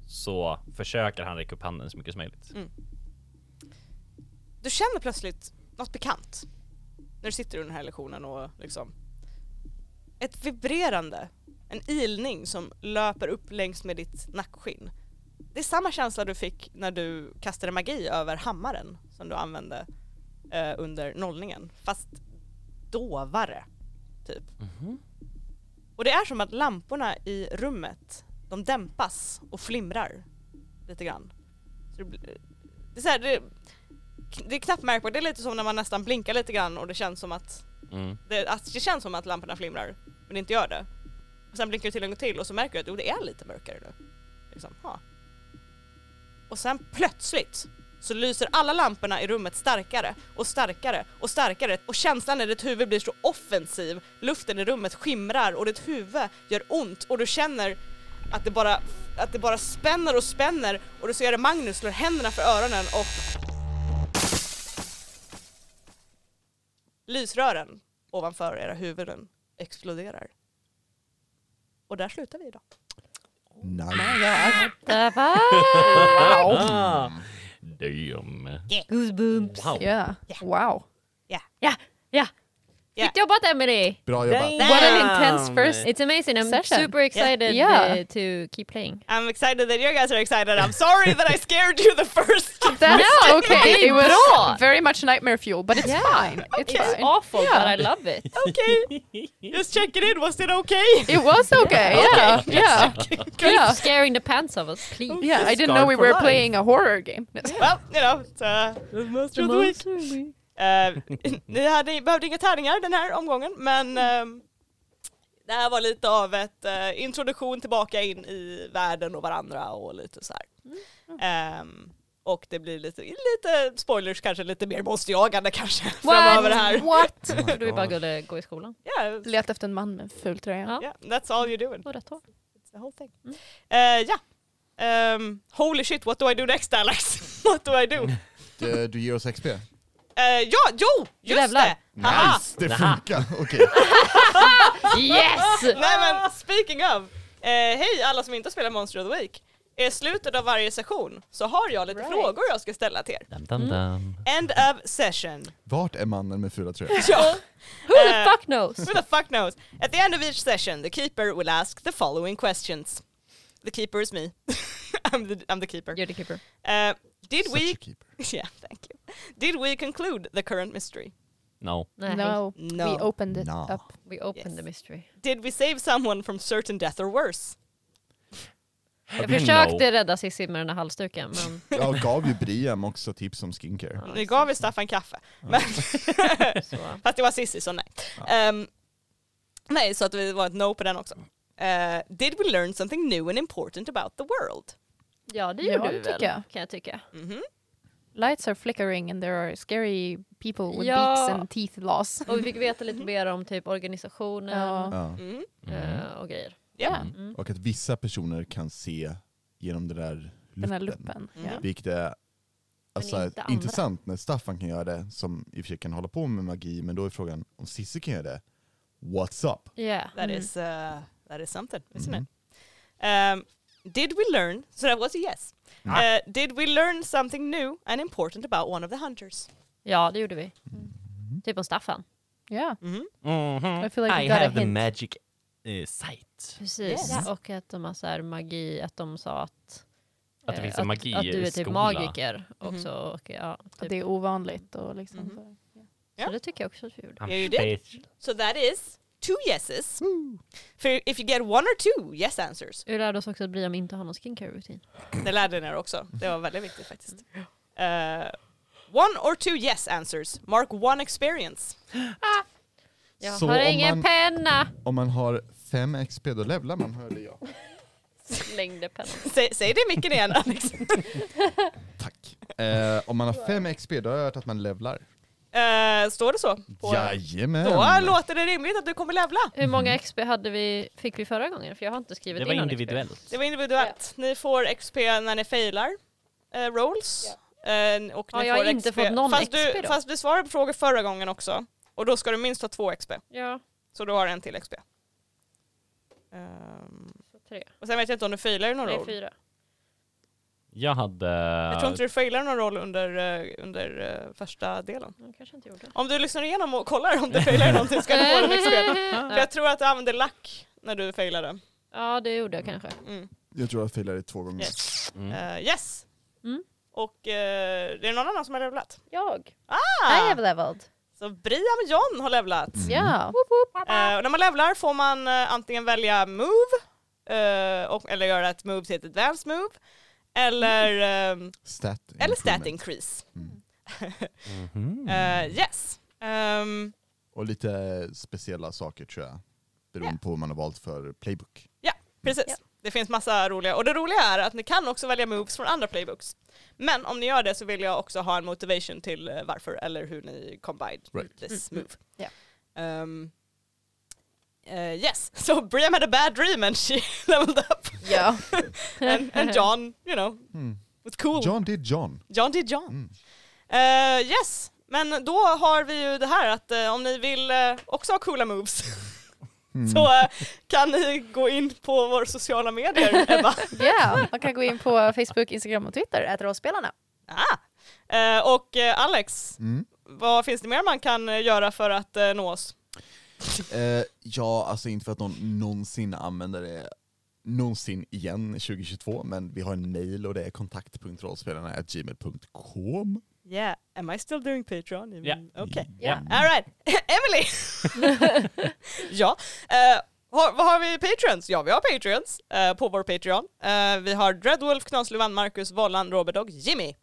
D: så försöker han räcka upp handen så mycket som möjligt.
B: Du känner plötsligt något bekant när du sitter under den här lektionen och liksom ett vibrerande, en ilning som löper upp längs med ditt nackskinn. Det är samma känsla du fick när du kastade magi över hammaren som du använde eh, under nollningen, fast dovare, typ.
D: Mm-hmm.
B: Och det är som att lamporna i rummet, de dämpas och flimrar lite grann. Så det, blir, det, är så här, det, k- det är knappt märkbart, det är lite som när man nästan blinkar lite grann och det känns som att
D: Mm.
B: det, att det känns som att lamporna flimrar, men det inte gör det. Och sen blinkar du till en gång till och så märker du att jo, det är lite mörkare nu. Liksom, ha. Och sen plötsligt så lyser alla lamporna i rummet starkare och starkare och starkare och känslan i ditt huvud blir så offensiv. Luften i rummet skimrar och ditt huvud gör ont och du känner att det bara, att det bara spänner och spänner och du ser Magnus slår händerna för öronen och lysrören ovanför era huvuden exploderar. Och där slutar vi idag.
A: Nej.
C: Det var
D: Ah, damn.
C: goosebumps.
D: Wow.
E: Yeah. Wow.
C: Snyggt jobbat Emily.
A: Bra jobbat.
E: What an intense first.
C: It's amazing. I'm
E: Session.
C: super excited
E: Yeah.
C: uh, to keep playing.
B: I'm excited that you guys are excited. I'm sorry that I scared you the first time.
E: That's
C: No,
E: okay.
C: okay,
E: It was
C: bra.
E: very much nightmare fuel, but it's
C: Yeah.
E: fine. It's
C: It's
E: fine.
C: awful,
E: Yeah.
C: but I love it.
B: Okay, just checking in. Was it okay?
E: It was okay. Yeah. Yeah.
C: Keep
E: Yeah.
C: scaring the pants of us, please.
E: Yeah. I didn't
D: Scarred
E: know we
D: for
E: were
D: life.
E: playing a horror game.
B: Well, you know, it's, uh, monster of the week. Eh, ni hade, behövde inga tärningar den här omgången, men ehm, det här var lite av ett eh, introduktion tillbaka in i världen och varandra och lite så här.
E: Mm,
B: Ehm, och det blir lite, lite spoilers kanske, lite mer monsterjagande kanske framöver här.
E: What?
C: Så du är bara gullig, gå i skolan.
B: Yeah,
E: Leta efter en man med en ful tröja.
C: Ja.
B: yeah, that's all you're doing.
C: Och rätt hår.
B: It's the whole thing. Eh, ja. Ehm, holy shit, what do I do next Alex? what do I do?
E: Mm.
G: Du, du ger oss XP.
B: Eh, ja, jo, just
C: Jävlar.
B: det! Haha.
G: Nice, det
D: Aha.
G: funkar. Okej.
C: Yes!
B: Nej
G: Ah!
B: men speaking of, eh, hej alla som inte spelar Monster of the Week. I slutet av varje session så har jag lite
C: Right.
B: frågor jag ska ställa till er.
D: Dum, dum, dum.
B: End of session.
G: Vart är mannen med fula tröjor?
B: Ja.
C: Who the
B: Eh,
C: fuck knows?
B: Who the fuck knows? At the end of each session the keeper will ask the following questions. The keeper is me. I'm, the, I'm the keeper.
C: You're the keeper.
B: Eh, did
G: Such
B: we...
G: a keeper.
B: Yeah, thank you. Did we conclude the current mystery?
D: No.
C: Nej.
E: No.
B: No.
E: We opened it
G: No.
E: up.
C: We opened
B: Yes.
C: the mystery.
B: Did we save someone from certain death or worse?
C: Jag
D: Again,
C: försökte
D: no.
C: rädda Cissi med den här halsduken men...
G: Jag gav ju Briam också tips om skincare.
C: Ja,
B: Nu gav vi Staffan kaffe. Men
C: så.
B: Fast det var Sissi så nej. Ehm, nej, så att det var ett no på den också. Eh, did we learn something new and important about the world?
C: ja det
E: Ja,
C: gjorde
E: det
C: du väl
E: tycker jag.
C: kan jag Mm. tycka.
B: Mhm.
E: Lights are flickering and there are scary people with
C: Ja.
E: beaks and teeth loss.
C: Och vi fick veta lite mer om typ organisationen
E: Ja.
G: Ja.
B: Mm.
C: eh, och grejer.
B: Ja.
E: Ja.
C: Mm.
G: Och att vissa personer kan se genom den där luppen.
E: Den här luppen.
B: Mm.
C: Mhm.
E: Ja.
G: Vilket är alltså,
C: inte andra.
G: intressant när Staffan kan göra det, som i och för sig kan hålla på med magi, men då är frågan om Cissi kan göra det, what's up?
C: Yeah.
B: That,
E: Mm.
B: is, uh, that is something, isn't
G: Mhm.
B: it? Ehm, did we learn, so that was a yes.
D: Ah.
B: Eh, did we learn something new and important about one of the hunters?
C: Ja, det gjorde vi. Typ om Staffan.
E: Yeah.
B: Mhm.
D: Mhm.
E: I feel like we
D: I
E: got a
D: have the
E: hint.
D: magic uh, sight.
C: Precis.
B: Yes.
C: Och att de har så här magi, att de sa att...
D: Att
C: eh,
D: det finns en magi
C: Att du är typ
D: skola.
C: magiker också. Och, Mhm. ja,
E: Att
C: typ.
E: Det är ovanligt och liksom
B: Mhm.
E: så.
B: Ja.
C: Så det tycker jag också att vi gjorde.
D: I'm
B: Yeah, you did.
D: special.
B: So that is two yeses. För if you get one or two yes answers.
C: Vi lärde oss också att Brian inte har någon skincare rutin.
B: Det lärde ni er också. Det var väldigt viktigt faktiskt. Eh, one or two yes answers. Mark one experience.
C: Jag
G: Så
C: har
G: om
C: ingen
G: man-
C: penna!
G: Om man har 5 XP då levlar man, hörde jag.
C: Slängde pennan.
B: Säg, säg det i micken igen Alex.
G: Tack. Eh, om man har 5 XP då har jag hört att man levlar.
B: Eh, står det så? På,
G: Jajamän!
B: då låter det rimligt att du kommer levla.
C: Hur många XP hade vi, fick vi förra gången? För jag har inte skrivit
D: Det var
C: in någon
D: individuellt.
B: Det var individuellt. Ni får XP när ni failar eh, rolls. Eh, och
C: Ja,
B: ni
C: jag
B: får
C: har inte
B: XP.
C: fått någon
B: fast
C: XP
B: du,
C: då.
B: Fast du svarade på frågor förra gången också. Och då ska du minst ha två XP.
C: XP. Ja,
B: Så du har en till XP. Ehm,
C: så tre.
B: och sen vet jag inte om du failar i någon
C: Nej,
B: roll.
C: fyra.
D: Jag hade...
B: Jag tror inte du failar någon roll under, eh, under eh, första delen.
C: Jag kanske inte gjorde.
B: Om du lyssnar igenom och kollar om du failar någonting ska du få en XP. För jag tror att du använde lack när du failade.
C: Ja, det gjorde jag kanske.
B: Mm.
G: Jag tror jag failade två gånger.
B: Yes.
D: Mm.
B: Eh, yes.
C: Mm.
B: Och uh, är det någon annan som har levlat?
C: Jag. I
B: Ah!
C: have leveled.
B: Så Brian och John har levlat.
G: Mm.
E: Ja.
B: Eh, och när man levlar får man eh, antingen välja move, eh, och, eller göra ett move till ett advanced move, eller, eh,
G: Stat
B: eller
G: improvement.
B: stat increase.
G: Mm.
D: Mhm.
B: Eh, yes. Ehm,
A: Och lite speciella saker tror jag. Beroende
B: Ja.
A: på vad man har valt för playbook.
B: precis.
E: Ja.
B: Det finns massa roliga. Och det roliga är att ni kan också välja moves från andra playbooks. Men om ni gör det så vill jag också ha en motivation till eh, varför eller hur ni combined
A: Right.
B: this
E: Mm,
B: move.
E: ja.
B: Ehm, eh, yes, so Briam had a bad dream and she leveled up.
E: Yeah.
B: And, and John, you know,
A: Mm.
B: was cool.
A: John did John.
B: John did John.
A: Mm.
B: Eh, yes, men då har vi ju det här att eh, om ni vill eh, också ha coola moves
A: Mm.
B: så eh, kan ni gå in på våra sociala medier, Ebba.
E: Ja, man kan gå in på Facebook, Instagram och Twitter, att rollspelarna.
B: ah. Eh, och eh, Alex,
A: Mm.
B: vad finns det mer man kan eh, göra för att eh, nå oss?
A: Eh, ja, alltså inte för att någon någonsin använder det någonsin igen 2022, men vi har en mail och det är kontakt.rollspelarna.gmail.com.
B: Yeah, am I still doing Patreon? Mm,
D: Ja.
B: Okay.
D: Ja.
B: All right, Emily! ja, eh, har, vad har vi Patreons? Ja, vi har Patreons eh, på vår Patreon. Eh, vi har Dreadwolf, Knasluvan, Marcus, Vollan, Robert och Jimmy.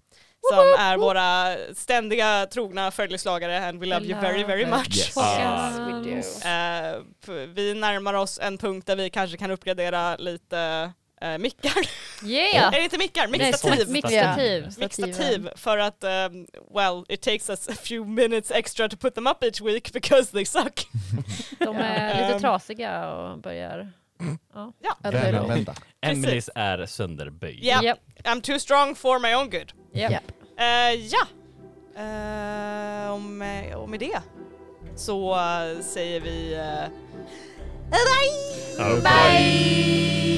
B: Som är våra ständiga trogna följeslagare and we love you very very much.
A: Yes.
D: Ah.
E: we do.
B: Eh, p- vi närmar oss en punkt där vi kanske kan uppgradera lite eh, mickar.
C: Yeah!
B: Eller inte mickar, mixtativ.
D: stativ.
C: Mixtativ. Stativen.
B: Mixtativ för att, um, well, it takes us a few minutes extra to put them up each week because they suck.
C: De är
B: Ehm.
C: lite trasiga och börjar...
E: Överlag.
A: Vända.
D: Emelies är sönderböjd.
B: Ja.
C: Japp,
B: I'm too strong for my own good.
C: japp.
E: Ja.
B: Eh, ja, Eh, och, med, och med det så eh, säger vi... eh, bye!
D: Överlag.
B: bye.